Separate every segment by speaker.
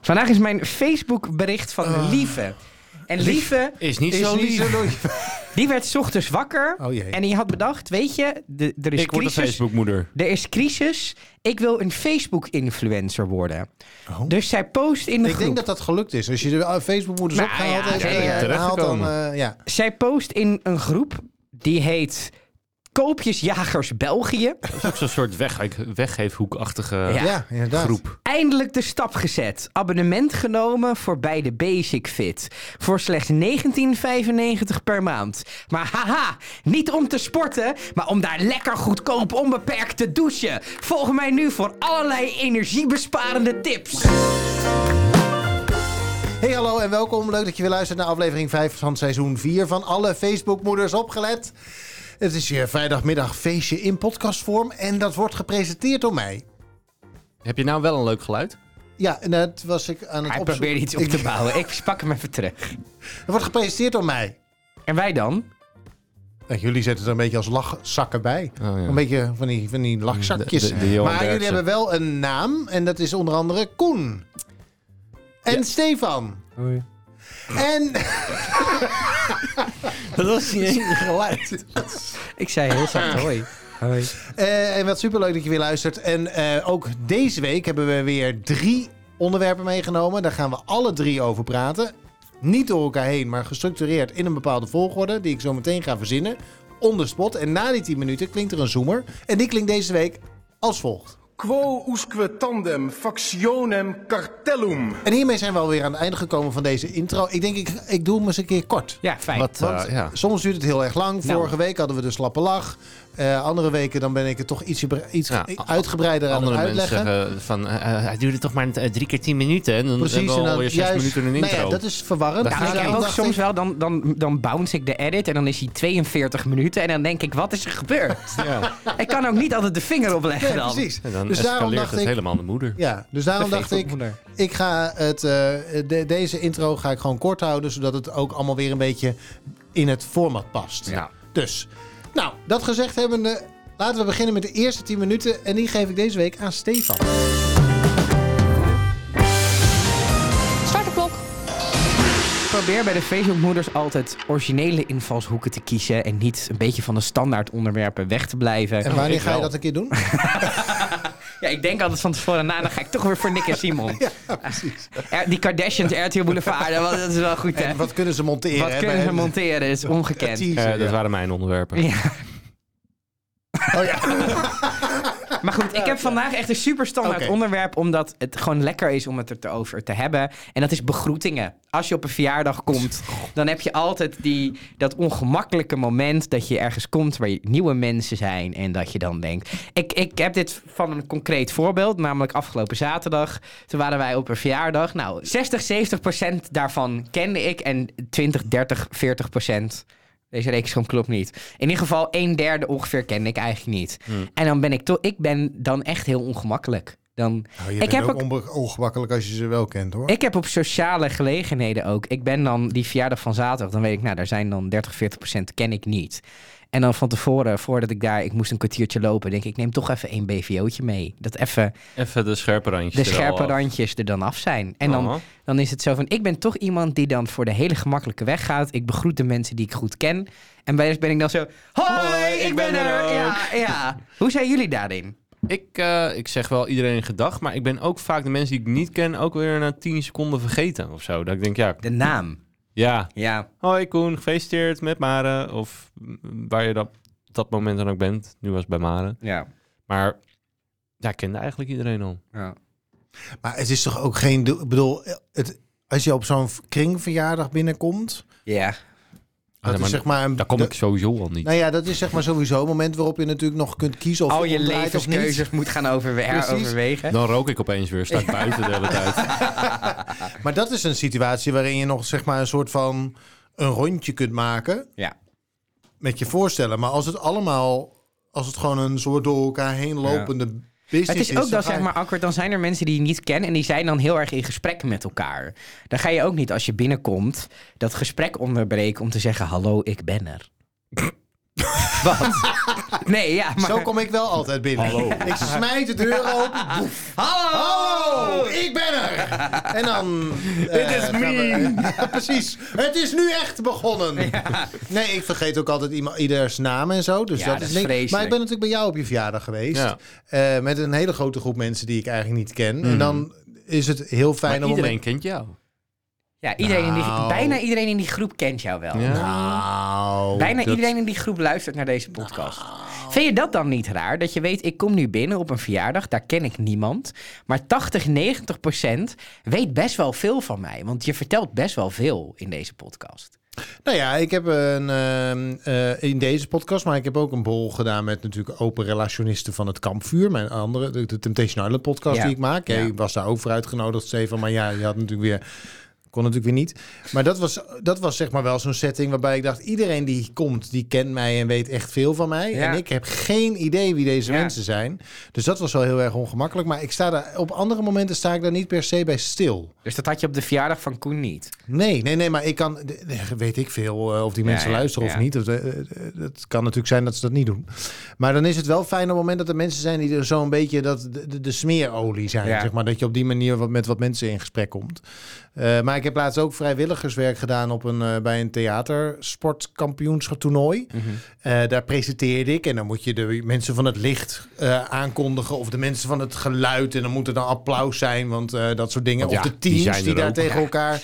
Speaker 1: Vandaag is mijn Facebook bericht van
Speaker 2: Ah.
Speaker 1: Lieve. En Lieve,
Speaker 3: Is niet
Speaker 1: Is
Speaker 3: zo
Speaker 1: niet
Speaker 3: lief.
Speaker 1: zo die werd 's ochtends wakker.
Speaker 2: Oh jee.
Speaker 1: En die had bedacht, weet je, de- er is
Speaker 3: Ik word een
Speaker 1: crisis.
Speaker 3: Facebookmoeder.
Speaker 1: Er is crisis. Ik wil een Facebook-influencer worden.
Speaker 2: Oh.
Speaker 1: Dus zij post in de
Speaker 2: Ik
Speaker 1: groep.
Speaker 2: denk dat dat gelukt is. Als je de eh, Facebook moeders
Speaker 1: Nou
Speaker 2: opgehaald
Speaker 1: ja,
Speaker 2: hebt,
Speaker 1: zeker.
Speaker 2: eh, haalt dan...
Speaker 3: Terechtgekomen.
Speaker 2: eh, ja.
Speaker 1: Zij post in een groep die heet Koopjesjagers België.
Speaker 3: Dat is ook zo'n soort wegge- weggeefhoekachtige
Speaker 1: Ja.
Speaker 2: Ja. inderdaad.
Speaker 3: groep.
Speaker 1: Eindelijk de stap gezet. Abonnement genomen voor bij de Basic Fit. Voor slechts 19,95 per maand. Maar haha, niet om te sporten, maar om daar lekker goedkoop onbeperkt te douchen. Volg mij nu voor allerlei energiebesparende tips.
Speaker 2: Hey, hallo en welkom. Leuk dat je weer luistert naar aflevering 5 van seizoen 4 van alle Facebookmoeders opgelet. Het is je vrijdagmiddag feestje in podcastvorm en dat wordt gepresenteerd door mij.
Speaker 3: Heb je nou wel een leuk geluid?
Speaker 2: Ja, en dat was ik aan het
Speaker 1: Hij
Speaker 2: opzoeken.
Speaker 1: probeerde iets op
Speaker 2: Ik-
Speaker 1: te bouwen. Ik pak hem even terug.
Speaker 2: Het wordt gepresenteerd door mij.
Speaker 1: En wij dan?
Speaker 2: Nou, jullie zetten er een beetje als lachzakken bij.
Speaker 3: Oh, ja.
Speaker 2: Een beetje van die, van die lachzakjes.
Speaker 3: De- de- de Johan
Speaker 2: maar jullie
Speaker 3: Derksen.
Speaker 2: hebben wel een naam. En dat is onder andere Koen. En Stefan. En
Speaker 3: Dat was niet eens geluid.
Speaker 1: Ik zei heel zacht hoi. Hoi.
Speaker 2: Eh, en wat superleuk dat je weer luistert. En eh, ook deze week hebben we weer drie onderwerpen meegenomen. Daar gaan we alle drie over praten. Niet door elkaar heen, maar gestructureerd in een bepaalde volgorde. Die ik zo meteen ga verzinnen. On the spot. En na die 10 minuten klinkt er een zoomer. En die klinkt deze week als volgt.
Speaker 4: Quo usque tandem factionem cartellum.
Speaker 2: En hiermee zijn we alweer aan het einde gekomen van deze intro. Ik denk, ik, ik doe hem eens een keer kort.
Speaker 1: Ja, fijn.
Speaker 3: Wat,
Speaker 2: Want
Speaker 3: eh, ja.
Speaker 2: soms duurt het heel erg lang.
Speaker 1: Nou.
Speaker 2: Vorige week hadden we de slappe lach. Eh, andere weken dan ben ik het toch iets, iets
Speaker 3: Ja,
Speaker 2: ge- uitgebreider aan het
Speaker 3: Andere mensen
Speaker 2: uitleggen.
Speaker 3: zeggen van, eh, eh, het duurde toch maar eh, drie keer tien minuten. En dan
Speaker 2: Precies,
Speaker 3: hebben
Speaker 2: en
Speaker 3: we
Speaker 2: dan
Speaker 3: alweer zes
Speaker 2: juist-
Speaker 3: minuten een intro.
Speaker 2: Nou ja, dat is verwarrend.
Speaker 3: Ja,
Speaker 1: Ja, maar
Speaker 2: Dus
Speaker 1: ik heb
Speaker 2: daarom
Speaker 1: ook
Speaker 2: dacht
Speaker 1: soms
Speaker 2: ik-
Speaker 1: wel, dan, dan, dan bounce ik de edit en dan is hij 42 minuten. En dan denk ik, wat is er gebeurd?
Speaker 3: Ja.
Speaker 1: ik kan ook niet altijd de vinger opleggen
Speaker 2: Nee,
Speaker 1: dan.
Speaker 2: precies.
Speaker 3: En dan
Speaker 2: Dus daarom
Speaker 3: escaleert
Speaker 2: dacht
Speaker 3: het
Speaker 2: ik...
Speaker 3: helemaal de moeder.
Speaker 2: Ja, dus daarom
Speaker 1: Dat
Speaker 2: dacht
Speaker 1: geeft
Speaker 2: ik,
Speaker 1: ook moeder.
Speaker 2: ik ga het, eh, de- deze intro ga ik gewoon kort houden, zodat het ook allemaal weer een beetje in het format past.
Speaker 1: Ja.
Speaker 2: Dus, nou, dat gezegd hebbende, laten we beginnen met de eerste 10 minuten. En die geef ik deze week aan Stefan.
Speaker 5: Start de klok.
Speaker 1: Ik probeer bij de Facebookmoeders altijd originele invalshoeken te kiezen. En niet een beetje van de standaard onderwerpen weg te blijven.
Speaker 2: En wanneer
Speaker 3: ik
Speaker 2: ga je
Speaker 3: wel.
Speaker 2: dat een keer doen?
Speaker 1: Ja, ik denk altijd van tevoren na, dan ga ik toch weer voor Nick en Simon.
Speaker 2: precies.
Speaker 1: Er- Die Kardashians, RTL Boulevard, dat was- dat is wel goed hè.
Speaker 2: En wat kunnen ze monteren?
Speaker 1: Wat
Speaker 2: hè,
Speaker 1: kunnen
Speaker 2: bij-
Speaker 1: ze monteren, dat is
Speaker 2: een
Speaker 1: ongekend.
Speaker 2: teaser,
Speaker 3: Eh, dat
Speaker 2: ja.
Speaker 3: waren mijn onderwerpen.
Speaker 1: Ja.
Speaker 2: Oh ja.
Speaker 1: Maar goed, ik heb vandaag echt een super standaard
Speaker 2: Oké.
Speaker 1: onderwerp. Omdat het gewoon lekker is om het er te over te hebben. En dat is begroetingen. Als je op een verjaardag komt, dan heb je altijd die, dat ongemakkelijke moment dat je ergens komt waar je nieuwe mensen zijn. En dat je dan denkt. Ik, ik heb dit van een concreet voorbeeld, namelijk afgelopen zaterdag. Toen waren wij op een verjaardag. Nou, 60, 70 procent daarvan kende ik. En 20, 30, 40 procent. Deze rekensom klopt niet. In ieder geval, een derde ongeveer kende ik eigenlijk niet. En dan ben ik toch, ik ben dan echt heel ongemakkelijk. Dan,
Speaker 2: je
Speaker 1: ik, heb ook,
Speaker 2: ongemakkelijk als je ze wel kent, hoor.
Speaker 1: ik heb op sociale gelegenheden ook. Ik ben dan die verjaardag van zaterdag, dan weet ik, nou, daar zijn dan 30, 40 procent ken ik niet. En dan van tevoren, voordat ik daar, ik moest een kwartiertje lopen, denk ik, ik neem toch even één BVO'tje mee. Dat even
Speaker 3: Even de scherpe randjes.
Speaker 1: de
Speaker 3: er wel
Speaker 1: scherpe
Speaker 3: af.
Speaker 1: randjes er dan af zijn. En
Speaker 3: Aha.
Speaker 1: dan, dan is het zo van, ik ben toch iemand die dan voor de hele gemakkelijke weg gaat. Ik begroet de mensen die ik goed ken. En bij de rest ben ik dan zo, hoi, ik, ben, er. Ja, ja. Hoe zijn jullie daarin?
Speaker 3: Ik, eh, ik zeg wel iedereen gedag, maar ik ben ook vaak de mensen die ik niet ken ook weer na 10 seconden vergeten of zo. Dat ik denk, ja,
Speaker 1: De naam.
Speaker 3: ja.
Speaker 1: Ja,
Speaker 3: Hoi Koen, gefeliciteerd met Mare. Of mm, waar je dat, dat moment dan ook bent. Nu was het bij Mare.
Speaker 1: ja.
Speaker 3: Maar ja, ik kende eigenlijk iedereen
Speaker 2: Ah,
Speaker 3: al.
Speaker 1: ja.
Speaker 2: Maar het is toch ook geen... doel- Ik bedoel, het, als je op zo'n kringverjaardag binnenkomt...
Speaker 1: Ja.
Speaker 2: Dat
Speaker 3: Ah,
Speaker 2: is
Speaker 3: maar
Speaker 2: zeg maar een,
Speaker 3: Daar kom
Speaker 2: de-
Speaker 3: ik sowieso al niet.
Speaker 2: Nou ja, dat is zeg maar sowieso een moment waarop je natuurlijk nog kunt kiezen of
Speaker 1: Al je
Speaker 2: omdraait of niet.
Speaker 1: levenskeuzes moet gaan overwe-
Speaker 2: Precies.
Speaker 1: overwegen.
Speaker 3: Dan rook ik opeens weer, sta ik buiten de hele tijd.
Speaker 2: Maar dat is een situatie waarin je nog zeg maar een soort van een rondje kunt maken
Speaker 1: Ja.
Speaker 2: met je voorstellen. Maar als het allemaal, als het gewoon een soort door elkaar heen lopende business
Speaker 1: Het is ook
Speaker 2: dus dan
Speaker 1: dan
Speaker 2: ga
Speaker 1: zeg
Speaker 2: je-
Speaker 1: maar awkward, dan zijn er mensen die je niet kent en die zijn dan heel erg in gesprek met elkaar. Dan ga je ook niet als je binnenkomt dat gesprek onderbreken om te zeggen hallo, ik ben er. Wat? Nee, ja, maar...
Speaker 2: Zo kom ik wel altijd binnen. Ik smijt de deur open. Boef.
Speaker 1: Hallo!
Speaker 2: Hallo, ik ben er! En dan... Dit
Speaker 1: is mean.
Speaker 2: Ja, precies. Het is nu echt begonnen. Nee, ik vergeet ook altijd iemand, ieders naam en zo. Dus
Speaker 1: Ja,
Speaker 2: dat,
Speaker 1: dat
Speaker 2: is
Speaker 1: is
Speaker 2: niks. Maar
Speaker 1: vreselijk.
Speaker 2: ik ben natuurlijk bij jou op je verjaardag geweest.
Speaker 3: Ja. Mm.
Speaker 2: Eh, met een hele grote groep mensen die ik eigenlijk niet ken. En dan is het heel fijn
Speaker 3: Maar
Speaker 2: om...
Speaker 3: iedereen kent jou.
Speaker 1: Ja, iedereen in die,
Speaker 2: Nou.
Speaker 1: bijna iedereen in die groep kent jou wel.
Speaker 3: Ja.
Speaker 2: Nou...
Speaker 1: Bijna
Speaker 3: dat-
Speaker 1: iedereen in die groep luistert naar deze podcast. Vind je dat dan niet raar? Dat je weet, ik kom nu binnen op een verjaardag, daar ken ik niemand. Maar 80, 90 procent weet best wel veel van mij. Want je vertelt best wel veel in deze podcast.
Speaker 2: Nou ja, ik heb een, ehm, eh, in deze podcast, maar ik heb ook een bol gedaan met natuurlijk open relationisten van het kampvuur. Mijn andere, de, de Temptation Island podcast
Speaker 1: Ja.
Speaker 2: die ik maak. Jij
Speaker 1: Ja.
Speaker 2: was daar ook voor uitgenodigd, Stefan. Maar ja, je had natuurlijk weer, kon natuurlijk weer niet. Maar dat was, dat was zeg maar wel zo'n setting waarbij ik dacht, iedereen die komt, die kent mij en weet echt veel van mij.
Speaker 1: Ja.
Speaker 2: En ik heb geen idee wie deze
Speaker 1: Ja.
Speaker 2: mensen zijn. Dus dat was wel heel erg ongemakkelijk. Maar ik sta daar, op andere momenten sta ik daar niet per se bij stil.
Speaker 1: Dus dat had je op de verjaardag van Koen niet.
Speaker 2: Nee, nee, nee, maar ik kan, de- de- weet ik veel eh, of die
Speaker 1: Ja,
Speaker 2: mensen
Speaker 1: ja,
Speaker 2: luisteren of
Speaker 1: ja.
Speaker 2: niet. Dat, eh, eh, Het kan natuurlijk zijn dat ze dat niet doen. Maar dan is het wel fijn op het moment dat er mensen zijn die er zo'n beetje dat, de, de- de smeerolie zijn.
Speaker 1: Ja.
Speaker 2: Zeg maar, dat je op die manier wat, met wat mensen in gesprek komt. Eh, maar ik heb laatst ook vrijwilligerswerk gedaan op een, eh, bij een theatersportkampioenschap toernooi.
Speaker 3: Mhm.
Speaker 2: Eh, daar presenteerde ik en dan moet je de mensen van het licht eh, aankondigen of de mensen van het geluid. En dan moet er dan applaus zijn, want eh, dat soort dingen.
Speaker 3: Want
Speaker 2: of
Speaker 3: ja,
Speaker 2: de
Speaker 3: die
Speaker 2: teams
Speaker 3: zijn
Speaker 2: die,
Speaker 3: er
Speaker 2: daar
Speaker 3: ook.
Speaker 2: tegen elkaar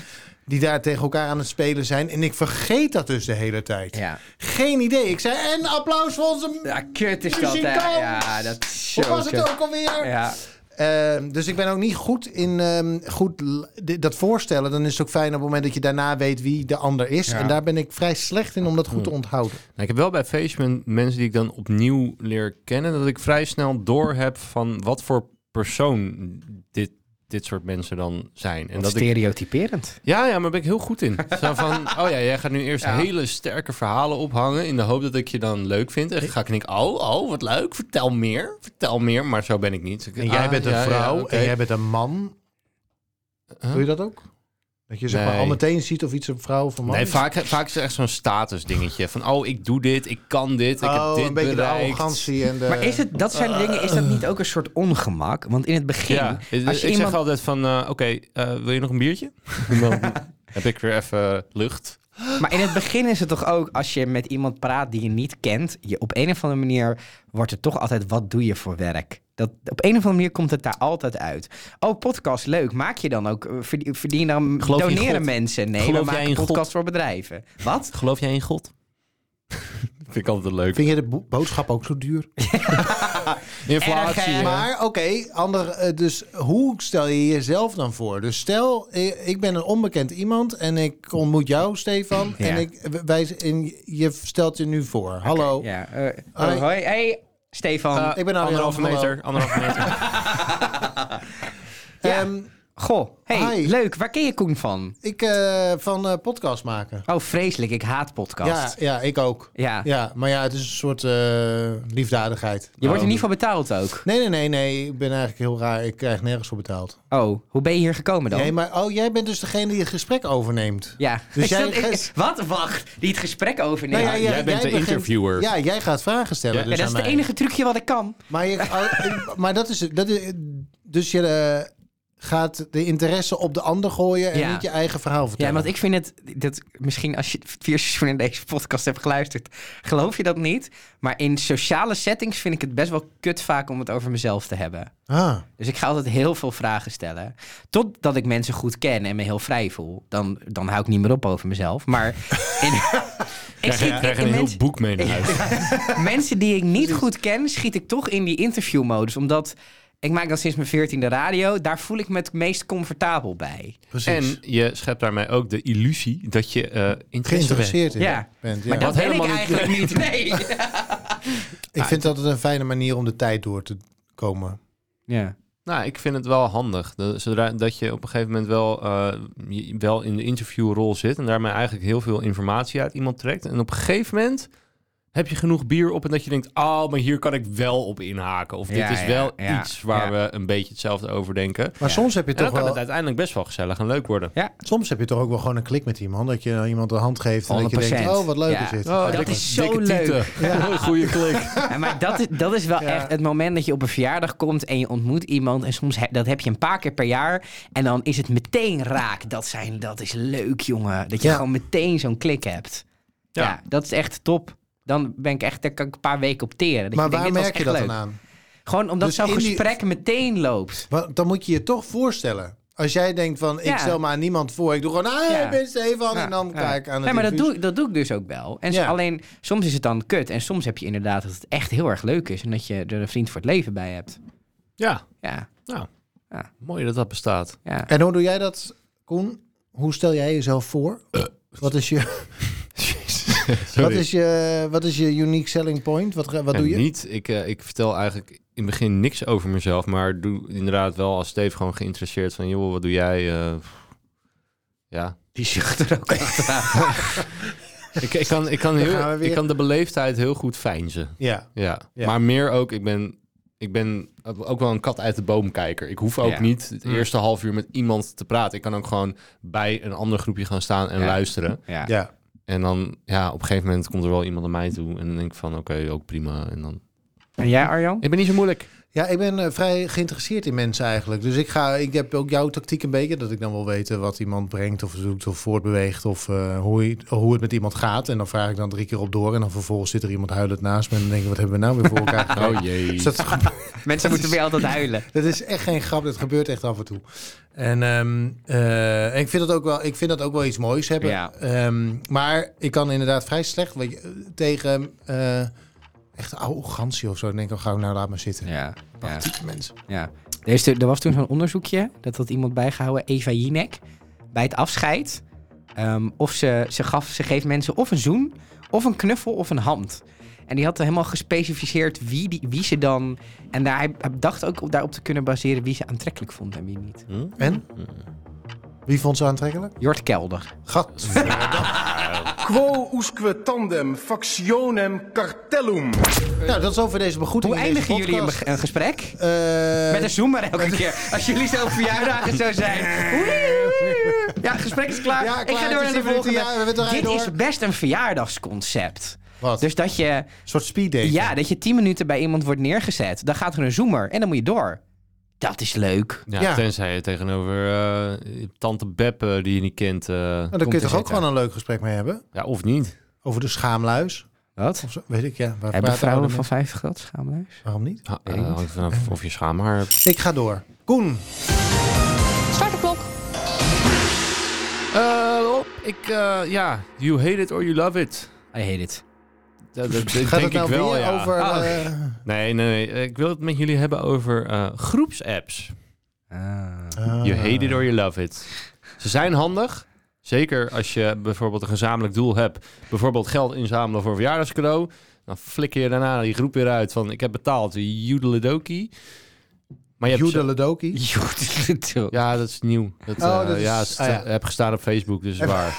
Speaker 2: die daar tegen elkaar aan het spelen zijn. En ik vergeet dat dus de hele tijd.
Speaker 1: Ja.
Speaker 2: Geen idee. Ik zei, en applaus voor onze...
Speaker 1: Ja, kut is dat, hè?
Speaker 2: Muzikant!
Speaker 1: Ja, dat is
Speaker 2: Hoe
Speaker 1: zo
Speaker 2: was het
Speaker 1: kut.
Speaker 2: ook alweer?
Speaker 1: Ja.
Speaker 2: Ehm, dus ik ben ook niet goed in ehm, goed l- di- dat voorstellen. Dan is het ook fijn op het moment dat je daarna weet wie de ander is.
Speaker 1: Ja.
Speaker 2: En daar ben ik vrij slecht in om dat goed te onthouden.
Speaker 3: Nou, ik heb wel bij Facebook mensen die ik dan opnieuw leer kennen, dat ik vrij snel door heb van wat voor persoon dit, dit soort mensen dan zijn. En
Speaker 1: Dat
Speaker 3: dat ik,
Speaker 1: stereotyperend.
Speaker 3: ja, ja, maar ben ik heel goed in. Zo van, oh ja, jij gaat nu eerst
Speaker 1: Ja.
Speaker 3: hele sterke verhalen ophangen in de hoop dat ik je dan leuk vind. En dan ga ik en ik, oh, oh, wat leuk, vertel meer, vertel meer. Maar zo ben ik niet. Dus ik-
Speaker 2: En jij
Speaker 3: ah,
Speaker 2: bent een
Speaker 3: ja, ja,
Speaker 2: vrouw
Speaker 3: oké.
Speaker 2: en jij bent een man.
Speaker 3: Huh?
Speaker 2: Doe je dat ook? Dat je zeg maar
Speaker 3: Nee.
Speaker 2: al meteen ziet of iets een vrouw of een man
Speaker 3: Nee,
Speaker 2: is?
Speaker 3: vaak, vaak is het echt zo'n status dingetje. Van, oh, ik doe dit, ik kan dit, ik
Speaker 2: Oh,
Speaker 3: heb dit
Speaker 2: een beetje
Speaker 3: bereikt.
Speaker 2: de arrogantie en de...
Speaker 1: Maar is het, dat zijn dingen, is dat niet ook een soort ongemak? Want in het begin,
Speaker 3: Ja,
Speaker 1: als je
Speaker 3: ik, ik
Speaker 1: iemand...
Speaker 3: zeg altijd van, eh, oké, eh, wil je nog een biertje? Dan heb ik weer even lucht.
Speaker 1: Maar in het begin is het toch ook, als je met iemand praat die je niet kent, je, op een of andere manier wordt er toch altijd, wat doe je voor werk? Dat, op een of andere manier komt het daar altijd uit. Oh, podcast, leuk. Maak je dan ook, eh, verdien, verdien dan,
Speaker 3: Geloof je in
Speaker 1: doneren
Speaker 3: God?
Speaker 1: mensen. Nee,
Speaker 3: Geloof
Speaker 1: we
Speaker 3: jij
Speaker 1: maken
Speaker 3: in God?
Speaker 1: podcast voor bedrijven. Wat?
Speaker 3: Geloof jij in God? Vind ik altijd leuk.
Speaker 2: Vind je de bo- boodschap ook zo duur?
Speaker 3: Inflatie.
Speaker 1: erg, hè?
Speaker 3: hè?
Speaker 2: Maar oké, ander, eh, dus hoe stel je jezelf dan voor? Dus stel, eh, ik ben een onbekend iemand en ik ontmoet jou, Stefan.
Speaker 1: Ja.
Speaker 2: En, ik, wij, en je stelt je nu voor. Hallo.
Speaker 1: Ja, eh,
Speaker 2: Hoi.
Speaker 1: oh, hoi. Hey, Stefan.
Speaker 3: Eh,
Speaker 2: Ik ben nou
Speaker 3: anderhalve
Speaker 2: weer-
Speaker 3: meter, anderhalve meter.
Speaker 2: Ehm,
Speaker 1: Goh, hey,
Speaker 2: hi.
Speaker 1: leuk. Waar ken je Koen van?
Speaker 2: ik eh, van eh, podcast maken.
Speaker 1: Oh, vreselijk. Ik haat
Speaker 2: Ja,
Speaker 1: podcast.
Speaker 2: ja, ik ook.
Speaker 1: Ja.
Speaker 2: Ja, maar ja, het is een soort eh, liefdadigheid.
Speaker 1: Je wordt er niet voor betaald ook.
Speaker 2: Nee, nee, nee, nee. Ik ben eigenlijk heel raar. Ik krijg nergens voor betaald.
Speaker 1: Oh, hoe ben je hier gekomen dan?
Speaker 2: Nee, maar oh, jij bent dus degene die het gesprek overneemt.
Speaker 1: Ja.
Speaker 2: Dus
Speaker 1: Is
Speaker 2: jij-
Speaker 1: dat- ik- wat? Wacht. Die het gesprek overneemt.
Speaker 2: Nou
Speaker 1: ja,
Speaker 3: jij bent de
Speaker 2: begint-
Speaker 3: interviewer.
Speaker 2: Ja, jij gaat vragen stellen.
Speaker 3: Ja,
Speaker 2: dus
Speaker 1: dat
Speaker 2: aan
Speaker 1: is het
Speaker 2: mij.
Speaker 1: enige trucje wat ik kan.
Speaker 2: Maar, je, oh, maar dat is het. Dat is, dus je eh, gaat de interesse op de ander gooien en
Speaker 1: Ja.
Speaker 2: niet je eigen verhaal
Speaker 1: Ja,
Speaker 2: vertellen.
Speaker 1: want ik vind het, dat, misschien als je vier seizoenen in deze podcast hebt geluisterd, geloof je dat niet. Maar in sociale settings vind ik het best wel kut vaak om het over mezelf te hebben.
Speaker 2: Ah,
Speaker 1: Dus ik ga altijd heel veel vragen stellen. Totdat ik mensen goed ken en me heel vrij voel. Dan, dan hou ik niet meer op over mezelf. Maar in, ik
Speaker 3: Krijg,
Speaker 1: schiet
Speaker 3: krijg
Speaker 1: in
Speaker 3: een heel
Speaker 1: mensen-
Speaker 3: boek mee naar huis.
Speaker 1: mensen die ik niet goed ken, schiet ik toch in die interviewmodus. Omdat ik maak dat sinds mijn veertiende radio. Daar voel ik me het meest comfortabel bij.
Speaker 2: precies.
Speaker 3: En je schept daarmee ook de illusie dat je eh interesse bent.
Speaker 2: Geïnteresseerd in
Speaker 1: Ja.
Speaker 2: bent. Ja.
Speaker 1: Maar dat
Speaker 3: Wat
Speaker 1: ben ik
Speaker 3: helemaal niet-
Speaker 1: eigenlijk niet. Nee.
Speaker 2: Ik vind dat het een fijne manier om de tijd door te komen.
Speaker 1: Ja.
Speaker 3: Nou, ik vind het wel handig. Dat, zodra dat je op een gegeven moment wel, eh, je- wel in de interviewrol zit en daarmee eigenlijk heel veel informatie uit iemand trekt. En op een gegeven moment heb je genoeg bier op en dat je denkt, oh, maar hier kan ik wel op inhaken. Of dit
Speaker 1: Ja,
Speaker 3: is
Speaker 1: ja,
Speaker 3: wel
Speaker 1: ja,
Speaker 3: iets waar
Speaker 1: ja.
Speaker 3: we een beetje hetzelfde over denken. En
Speaker 2: Maar soms heb je
Speaker 3: dan
Speaker 2: toch
Speaker 3: kan het
Speaker 2: wel...
Speaker 3: uiteindelijk best wel gezellig en leuk worden.
Speaker 1: Ja.
Speaker 2: Soms heb je toch ook wel gewoon een klik met iemand. Dat je nou iemand de hand geeft en dat je
Speaker 1: 100%.
Speaker 2: denkt, oh, wat leuk
Speaker 1: Ja.
Speaker 2: is dit.
Speaker 1: Dat
Speaker 3: dikke-
Speaker 1: is zo
Speaker 3: dikke
Speaker 1: leuk.
Speaker 3: tieten. Goeie klik.
Speaker 1: Ja, maar dat is, dat is wel
Speaker 2: Ja.
Speaker 1: echt het moment dat je op een verjaardag komt en je ontmoet iemand. En soms he- dat heb je een paar keer per jaar. En dan is het meteen raak. Dat, zijn, dat is leuk, jongen. Dat je
Speaker 2: Ja.
Speaker 1: gewoon meteen zo'n klik hebt. Ja.
Speaker 3: Ja.
Speaker 1: dat is echt top. Dan ben ik echt, daar kan ik een paar weken op teren. Dat
Speaker 2: Maar
Speaker 1: denkt,
Speaker 2: waar
Speaker 1: dit was
Speaker 2: merk je
Speaker 1: echt
Speaker 2: dat
Speaker 1: leuk.
Speaker 2: dan aan?
Speaker 1: Gewoon omdat
Speaker 2: Dus
Speaker 1: zo'n
Speaker 2: in die-
Speaker 1: gesprek meteen loopt.
Speaker 2: Want dan moet je je toch voorstellen. Als jij denkt van, ik
Speaker 1: Ja.
Speaker 2: stel maar aan niemand voor. Ik doe gewoon, ah,
Speaker 1: Ja.
Speaker 2: ik ben Stefan.
Speaker 1: Ja,
Speaker 2: En dan
Speaker 1: ja.
Speaker 2: kijk ik aan het
Speaker 1: Nee, maar dat
Speaker 2: infuus.
Speaker 1: doe, ik- dat doe ik dus ook wel. En
Speaker 2: Ja.
Speaker 1: Alleen soms is het dan kut. En soms heb je inderdaad dat het echt heel erg leuk is. En dat je er een vriend voor het leven bij hebt.
Speaker 3: Ja,
Speaker 1: Ja,
Speaker 3: nou,
Speaker 1: Ja.
Speaker 3: mooi dat dat bestaat.
Speaker 1: ja.
Speaker 2: En hoe doe jij dat, Koen? Hoe stel jij jezelf voor?
Speaker 3: Eh,
Speaker 2: Wat is je, wat is je, wat is je unique selling point? Wat, ga- wat
Speaker 3: Ja,
Speaker 2: doe je?
Speaker 3: Niet. Ik, eh, ik vertel eigenlijk in het begin niks over mezelf, maar doe inderdaad wel als Steve gewoon geïnteresseerd van, joh, wat doe jij? eh, ja.
Speaker 1: Die zucht er ook achteraan.
Speaker 3: Ik, ik, kan, ik, kan
Speaker 2: Daar gaan we
Speaker 3: heel,
Speaker 2: weer.
Speaker 3: ik kan de beleefdheid heel goed fijnzen.
Speaker 2: Ja.
Speaker 3: Ja.
Speaker 2: Ja.
Speaker 3: Maar meer ook, ik ben, ik ben ook wel een kat uit de boomkijker. Ik hoef ook
Speaker 1: Ja.
Speaker 3: niet
Speaker 2: Mm.
Speaker 3: het eerste half uur met iemand te praten. Ik kan ook gewoon bij een ander groepje gaan staan en
Speaker 1: Ja.
Speaker 3: luisteren.
Speaker 1: Ja.
Speaker 2: ja.
Speaker 3: En dan, ja, op een gegeven moment komt er wel iemand naar mij toe. En dan denk ik van, oké, ook prima. En dan...
Speaker 1: En jij, Arjan?
Speaker 3: Ik ben niet zo moeilijk.
Speaker 2: Ja, ik ben eh, vrij geïnteresseerd in mensen eigenlijk. Dus ik, ga, ik heb ook jouw tactiek een beetje. Dat ik dan wil weten wat iemand brengt of doet of voortbeweegt. Of eh, hoe, je- hoe het met iemand gaat. En dan vraag ik dan drie keer op door. En dan vervolgens zit er iemand huilend naast me. En dan denk ik, wat hebben we nou weer voor elkaar gekregen?
Speaker 3: Oh jee.
Speaker 2: Dus dat,
Speaker 1: Mensen moeten weer altijd huilen.
Speaker 2: dat is echt geen grap. Dat gebeurt echt af en toe. En ehm, eh, en ik, vind dat ook wel, ik vind dat ook wel iets moois hebben.
Speaker 1: Ja.
Speaker 2: Ehm, maar ik kan inderdaad vrij slecht weet je, eh, tegen eh, echt arrogantie of zo. Dan denk ik, oh, gauw, nou laat maar zitten.
Speaker 1: Ja, ja,
Speaker 2: Type mensen.
Speaker 1: ja. Er, is, er was toen zo'n onderzoekje, dat had iemand bijgehouden, Eva Jinek, bij het afscheid. Ehm, of ze, ze, gaf, ze geeft mensen of een zoen, of een knuffel, of een hand. En die had helemaal gespecificeerd wie, die, wie ze dan... En daar, hij dacht ook op, daarop te kunnen baseren wie ze aantrekkelijk vond en wie niet.
Speaker 3: Hm?
Speaker 2: En? Wie vond ze aantrekkelijk?
Speaker 1: Jort Kelder.
Speaker 2: Gat.
Speaker 4: Quo usque tandem factionem cartellum.
Speaker 2: nou, dat is over deze begroeting.
Speaker 1: Hoe
Speaker 2: in deze
Speaker 1: eindigen jullie een,
Speaker 2: podcast.
Speaker 1: be- een gesprek?
Speaker 2: Eh,
Speaker 1: Met een zoemer elke keer. Als jullie zo op verjaardagen zo zijn. Ja, het gesprek is klaar.
Speaker 2: Ja,
Speaker 1: Ik
Speaker 2: klaar.
Speaker 1: ga door naar de
Speaker 2: Het is tien minuten.
Speaker 1: volgende.
Speaker 2: Ja, we draaien
Speaker 1: Dit
Speaker 2: door.
Speaker 1: is best een verjaardagsconcept.
Speaker 2: Wat?
Speaker 1: Dus dat je,
Speaker 2: een soort speeddate.
Speaker 1: ja, dat je tien minuten bij iemand wordt neergezet. Dan gaat er een zoemer en dan moet je door. Dat is leuk.
Speaker 3: Ja,
Speaker 2: Ja.
Speaker 3: tenzij je tegenover eh, tante Beb eh, die je niet kent. eh,
Speaker 2: Nou, daar kun je
Speaker 1: te
Speaker 2: toch ook
Speaker 1: zitten.
Speaker 2: gewoon een leuk gesprek mee hebben?
Speaker 3: ja, of niet.
Speaker 2: Over de schaamluis?
Speaker 1: Wat?
Speaker 2: Of zo, weet ik, ja. Waar
Speaker 1: Hebben
Speaker 2: praten
Speaker 1: vrouwen
Speaker 2: oude
Speaker 1: van
Speaker 2: mensen-
Speaker 1: 50 geld schaamluis?
Speaker 2: Waarom niet?
Speaker 3: Ha- eh, hangt vanaf of je schaamhaar hebt.
Speaker 2: Ik ga door. Koen,
Speaker 5: Start de klok.
Speaker 3: Eh, ik, eh, ja, you hate it or you love it.
Speaker 1: I hate it.
Speaker 3: Dat, dat- dat denk
Speaker 2: gaat het nou
Speaker 3: ik wel,
Speaker 2: weer
Speaker 3: ja. Ah.
Speaker 2: over...
Speaker 1: Oh.
Speaker 2: eh,
Speaker 3: Nee, nee, nee, ik wil het met jullie hebben over eh, groepsapps.
Speaker 1: Ah.
Speaker 3: You
Speaker 2: eh,
Speaker 3: hate it or you love it. Ze zijn handig. Zeker als je bijvoorbeeld een gezamenlijk doel hebt. Bijvoorbeeld geld inzamelen voor verjaardagscadeau. Dan flikker je daarna die groep weer uit van ik heb betaald. Joedeledoki. Maar je hebt ze-
Speaker 2: Joedeledoki.
Speaker 3: Ja, dat is nieuw. Dat,
Speaker 2: Oh,
Speaker 3: eh,
Speaker 2: dat is-
Speaker 3: ja, het
Speaker 2: ah, ja.
Speaker 3: heb gestaan op Facebook, dus
Speaker 2: Even-
Speaker 3: waar.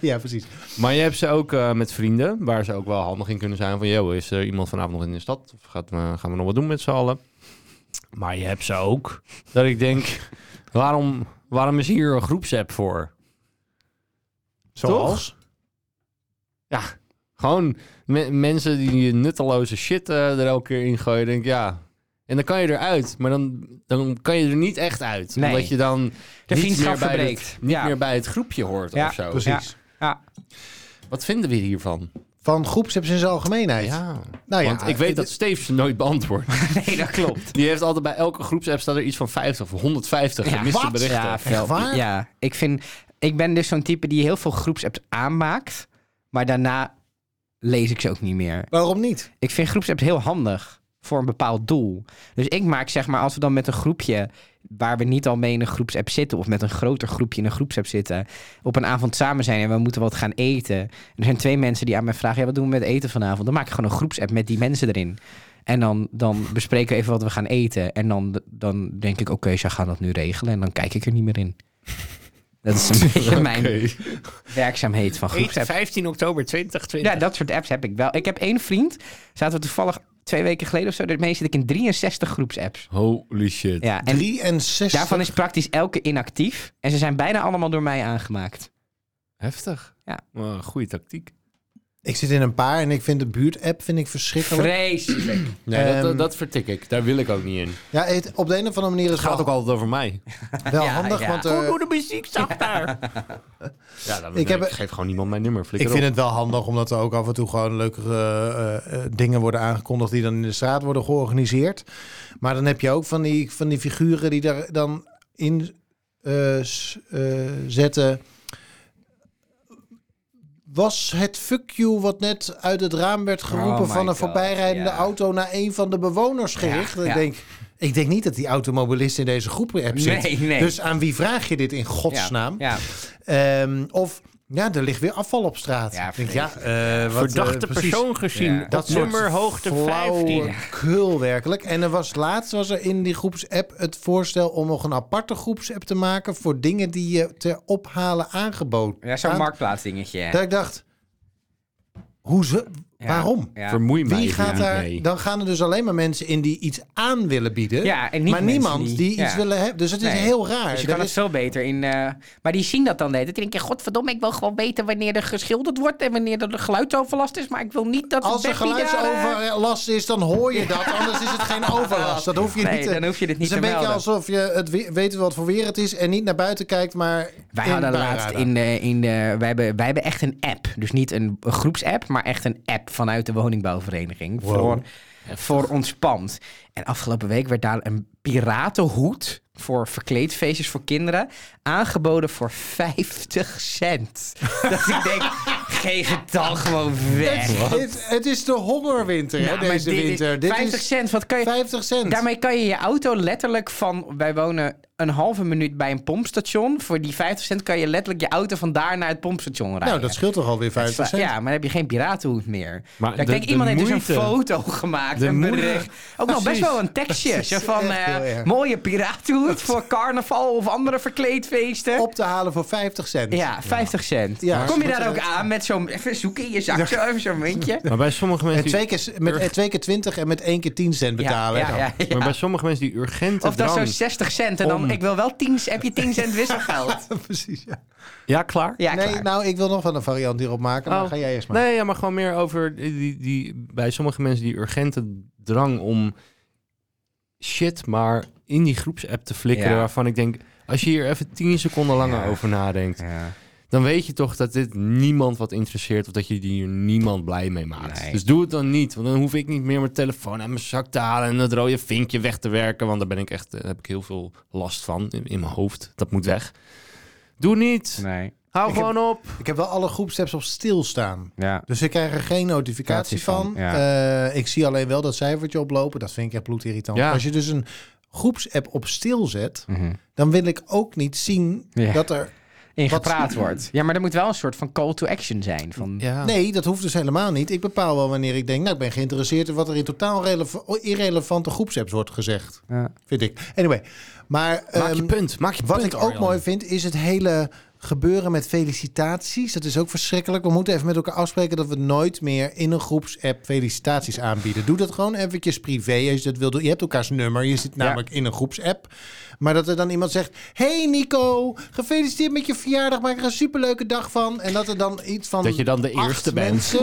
Speaker 2: Ja, precies.
Speaker 3: Maar je hebt ze ook eh, met vrienden, waar ze ook wel handig in kunnen zijn. Van, joh, is er iemand vanavond nog in de stad? Of gaat, eh, gaan we nog wat doen met z'n allen? Maar je hebt ze ook. Dat ik denk, waarom, waarom is hier een groepsapp voor?
Speaker 2: Zoals?
Speaker 3: Ja, gewoon me- mensen die nutteloze shit eh, er elke keer in gooien. Denk ik, ja. En dan kan je eruit, maar dan, dan kan je er niet echt uit.
Speaker 1: Nee.
Speaker 3: Omdat je dan
Speaker 1: De
Speaker 3: niet,
Speaker 1: vriendschap
Speaker 3: meer bij,
Speaker 1: verbreekt.
Speaker 3: het, niet
Speaker 1: Ja.
Speaker 3: meer bij het groepje hoort
Speaker 1: Ja,
Speaker 3: of zo.
Speaker 2: Precies.
Speaker 1: Ja.
Speaker 3: Wat vinden we hiervan?
Speaker 2: Van groepsapps in zijn algemeenheid. Nou ja,
Speaker 3: Want ik weet
Speaker 2: het-
Speaker 3: dat Steve ze nooit beantwoordt.
Speaker 1: Nee, dat klopt.
Speaker 3: Die heeft altijd bij elke groepsapp staat er iets van 50 of 150
Speaker 1: Ja,
Speaker 3: gemiste
Speaker 1: wat?
Speaker 3: berichten.
Speaker 1: Ja,
Speaker 2: Echt waar?
Speaker 1: Ja, ik vind... Ik ben dus zo'n type die heel veel groepsapps aanmaakt. Maar daarna lees ik ze ook niet meer.
Speaker 2: Waarom niet?
Speaker 1: Ik vind groepsapps heel handig voor een bepaald doel. Dus ik maak zeg maar, als we dan met een groepje waar we niet al mee in een groepsapp zitten... of met een groter groepje in een groepsapp zitten... op een avond samen zijn en we moeten wat gaan eten. En er zijn twee mensen die aan mij vragen... ja, wat doen we met eten vanavond? Dan maak ik gewoon een groepsapp met die mensen erin. En dan, dan bespreken we even wat we gaan eten. En dan, dan denk ik, oké, ze gaan dat nu regelen. En dan kijk ik er niet meer in. Dat is een beetje mijn
Speaker 3: Oké.
Speaker 1: werkzaamheid van groepsapp.
Speaker 6: 15 oktober 2020.
Speaker 1: Ja, dat soort apps heb ik wel. Ik heb één vriend, zaten we toevallig twee weken geleden of zo, daarmee zit ik in 63 groepsapps.
Speaker 3: Holy shit.
Speaker 1: Ja, en
Speaker 2: 63.
Speaker 1: daarvan is praktisch elke inactief. En ze zijn bijna allemaal door mij aangemaakt.
Speaker 3: Heftig.
Speaker 1: Ja.
Speaker 3: Wow, goede tactiek.
Speaker 2: Ik zit in een paar en ik vind de buurt-app vind ik verschrikkelijk.
Speaker 1: Vreselijk.
Speaker 3: Nee, dat-
Speaker 2: Ehm,
Speaker 3: dat, dat vertik ik. Daar wil ik ook niet in. Oh.
Speaker 2: ja, het, op de een of andere manier is
Speaker 3: Het gaat
Speaker 2: het
Speaker 3: ook
Speaker 2: wel,
Speaker 3: altijd over mij.
Speaker 2: wel
Speaker 1: Ja,
Speaker 2: handig,
Speaker 1: ja.
Speaker 2: want eh,
Speaker 6: Hoe doe de muziek zachter?
Speaker 3: Ja, dan,
Speaker 2: Ik
Speaker 3: ik,
Speaker 2: heb-
Speaker 3: geef gewoon niemand mijn nummer.
Speaker 2: ik
Speaker 3: Flikker
Speaker 2: vind
Speaker 3: op.
Speaker 2: het wel handig omdat er ook af en toe gewoon leuke eh, eh, dingen worden aangekondigd die dan in de straat worden georganiseerd. Maar dan heb je ook van die, van die figuren die daar dan in eh, s- eh, zetten. Was het fuck you wat net uit het raam werd geroepen
Speaker 1: Oh my
Speaker 2: van een
Speaker 1: God,
Speaker 2: voorbijrijdende
Speaker 1: ja.
Speaker 2: auto naar een van de bewoners gericht?
Speaker 1: Ja,
Speaker 2: ik,
Speaker 1: ja.
Speaker 2: Denk, ik denk niet dat die automobilist in deze groep app zit.
Speaker 1: Nee, nee.
Speaker 2: Dus aan wie vraag je dit in godsnaam?
Speaker 1: Ja,
Speaker 2: Ehm, of, ja, er ligt weer afval op straat.
Speaker 1: Ja,
Speaker 2: Ik denk, ja, eh, wat,
Speaker 6: Verdachte
Speaker 2: eh, precies.
Speaker 6: persoon gezien.
Speaker 1: Ja.
Speaker 6: Dat
Speaker 2: Dat
Speaker 6: nummer
Speaker 2: soort
Speaker 6: hoogte
Speaker 2: flauwe
Speaker 6: 15.
Speaker 2: Kul werkelijk. En er was laatst was er in die groepsapp het voorstel om nog een aparte groepsapp te maken voor dingen die je ter ophalen aangeboden.
Speaker 1: ja zo'n
Speaker 2: aan-
Speaker 1: marktplaatsdingetje.
Speaker 2: Ah. Dat ik dacht, hoe ze,
Speaker 1: Ja,
Speaker 2: waarom?
Speaker 1: Ja.
Speaker 3: Vermoei mij
Speaker 2: Wie
Speaker 3: hier
Speaker 2: gaat
Speaker 3: niet
Speaker 2: daar?
Speaker 3: mee.
Speaker 2: Dan gaan er dus alleen maar mensen in die iets aan willen bieden.
Speaker 1: Ja, en niet
Speaker 2: maar
Speaker 1: mensen
Speaker 2: niemand die,
Speaker 1: ja.
Speaker 2: iets willen hebben. Dus het is
Speaker 1: Nee.
Speaker 2: heel raar.
Speaker 1: Dus je
Speaker 2: Er
Speaker 1: kan
Speaker 2: is-
Speaker 1: het veel beter in. eh, maar die zien dat dan net. Die denken: Godverdomme, ik wil gewoon weten wanneer er geschilderd wordt. en wanneer er geluidsoverlast is. Maar ik wil niet dat.
Speaker 2: Als er
Speaker 1: Beppie daar, eh,
Speaker 2: geluidsoverlast is, dan hoor je dat. Anders is het geen overlast. Dat hoef je
Speaker 1: Nee,
Speaker 2: niet te...
Speaker 1: dan hoef je dit niet
Speaker 2: Het is een
Speaker 1: te
Speaker 2: beetje
Speaker 1: melden.
Speaker 2: alsof je het we- weet wat voor weer het is en niet naar buiten kijkt, maar
Speaker 1: Wij
Speaker 2: in
Speaker 1: hadden
Speaker 2: Parada.
Speaker 1: laatst in de, in de, wij, hebben, wij hebben echt een app. Dus niet een, een groepsapp, maar echt een app vanuit de woningbouwvereniging. Voor, voor ontspant. En afgelopen week werd daar een piratenhoed voor verkleedfeestjes voor kinderen aangeboden voor 50 cent. Dat ik denk, geef het dan gewoon weg.
Speaker 2: Het, het, het is de hongerwinter,
Speaker 1: Ja,
Speaker 2: hè,
Speaker 1: Nou, maar
Speaker 2: deze
Speaker 1: dit is-
Speaker 2: winter. Dit
Speaker 1: 50
Speaker 2: is
Speaker 1: cent, wat kan je...
Speaker 2: 50 cent.
Speaker 1: Daarmee kan je je auto letterlijk van. Wij wonen een halve minuut bij een pompstation. Voor die 50 cent kan je letterlijk je auto vandaar naar het pompstation rijden. Dus, eh,
Speaker 2: nou, dat scheelt toch alweer 50 cent?
Speaker 1: Ja, maar dan heb je geen piratenhoed meer.
Speaker 3: Maar
Speaker 1: Maar
Speaker 3: de-
Speaker 1: kijk,
Speaker 3: de
Speaker 1: iemand heeft dus
Speaker 3: moeite-
Speaker 1: een foto gemaakt.
Speaker 3: de
Speaker 1: Een
Speaker 3: moeite-
Speaker 1: bericht. Ook nog best
Speaker 3: Precies.
Speaker 1: wel een tekstje. Zo van
Speaker 2: echt heel
Speaker 1: eh,
Speaker 2: erg.
Speaker 1: mooie piratenhoed voor carnaval of andere verkleedfeesten.
Speaker 2: Op te halen voor 50 cent.
Speaker 1: Ja, 50 cent.
Speaker 2: Ja.
Speaker 1: Kom je
Speaker 2: Maar-
Speaker 1: daar ook aan met zo'n. Even zoeken in je zak, zo, even zo'n muntje.
Speaker 3: Maar bij sommige
Speaker 2: En
Speaker 3: mensen... die-
Speaker 2: twee keer, s- met, eh, twee keer 20 en met één keer 10 cent betalen.
Speaker 1: Ja, ja, ja, ja.
Speaker 3: Maar bij sommige mensen die urgente
Speaker 1: Of dat
Speaker 3: drang...
Speaker 1: zo'n 60 cent. En
Speaker 3: Om.
Speaker 1: dan, ik wil wel 10, heb je 10 cent wisselgeld?
Speaker 2: precies. Ja.
Speaker 3: Ja, klaar?
Speaker 1: Ja,
Speaker 2: nee,
Speaker 1: klaar.
Speaker 2: nou, ik wil nog wel een variant hierop maken, maar
Speaker 3: Oh.
Speaker 2: ga jij eerst maar.
Speaker 3: Nee, ja, maar gewoon meer over die, die, die- bij sommige mensen die urgente drang om shit maar in die groepsapp te flikkeren.
Speaker 1: Ja.
Speaker 3: Waarvan ik denk, als je hier even tien seconden langer
Speaker 1: Ja.
Speaker 3: over nadenkt,
Speaker 1: Ja.
Speaker 3: dan weet je toch dat dit niemand wat interesseert of dat je hier niemand blij mee maakt.
Speaker 1: Nee.
Speaker 3: Dus doe het dan niet, want dan hoef ik niet meer mijn telefoon uit mijn zak te halen en dat rode vinkje weg te werken, want daar ben ik echt, daar heb ik heel veel last van in, in mijn hoofd. Dat moet weg. Doe niet.
Speaker 1: Nee.
Speaker 3: Hou
Speaker 2: Ik heb-
Speaker 3: gewoon op.
Speaker 2: Ik heb wel alle groepsapps op stilstaan.
Speaker 1: Ja.
Speaker 2: Dus ik krijg er geen notificatie
Speaker 1: Notificatie
Speaker 2: van.
Speaker 1: van,
Speaker 2: Eh, ik zie alleen wel dat cijfertje oplopen. Dat vind ik echt bloedirritant.
Speaker 3: Ja.
Speaker 2: Als je dus een groepsapp op stil zet, dan wil ik ook niet zien
Speaker 1: Ja.
Speaker 2: dat er...
Speaker 1: In
Speaker 2: Wat-
Speaker 1: gepraat wordt. Ja, maar er moet wel een soort van call to action zijn. Van,
Speaker 3: Ja.
Speaker 2: Nee, dat hoeft dus helemaal niet. Ik bepaal wel wanneer ik denk, nou, ik ben geïnteresseerd in wat er in totaal releva- irrelevante groepsapps wordt gezegd.
Speaker 1: Ja.
Speaker 2: Vind ik. Anyway, maar...
Speaker 3: Maak je
Speaker 2: ehm,
Speaker 3: punt. Maak je
Speaker 2: Wat
Speaker 3: punt,
Speaker 2: ik ook
Speaker 3: Arjan.
Speaker 2: mooi vind, is het hele gebeuren met felicitaties. Dat is ook verschrikkelijk. We moeten even met elkaar afspreken dat we nooit meer in een groepsapp felicitaties aanbieden. Doe dat gewoon eventjes privé als je dat wil doen. Je hebt elkaars nummer, je zit namelijk in een groepsapp. Maar dat er dan iemand zegt, hey Nico, gefeliciteerd met je verjaardag, maak er een superleuke dag van. En dat er dan iets van
Speaker 3: Dat je dan de
Speaker 2: acht
Speaker 3: eerste bent.
Speaker 2: mensen-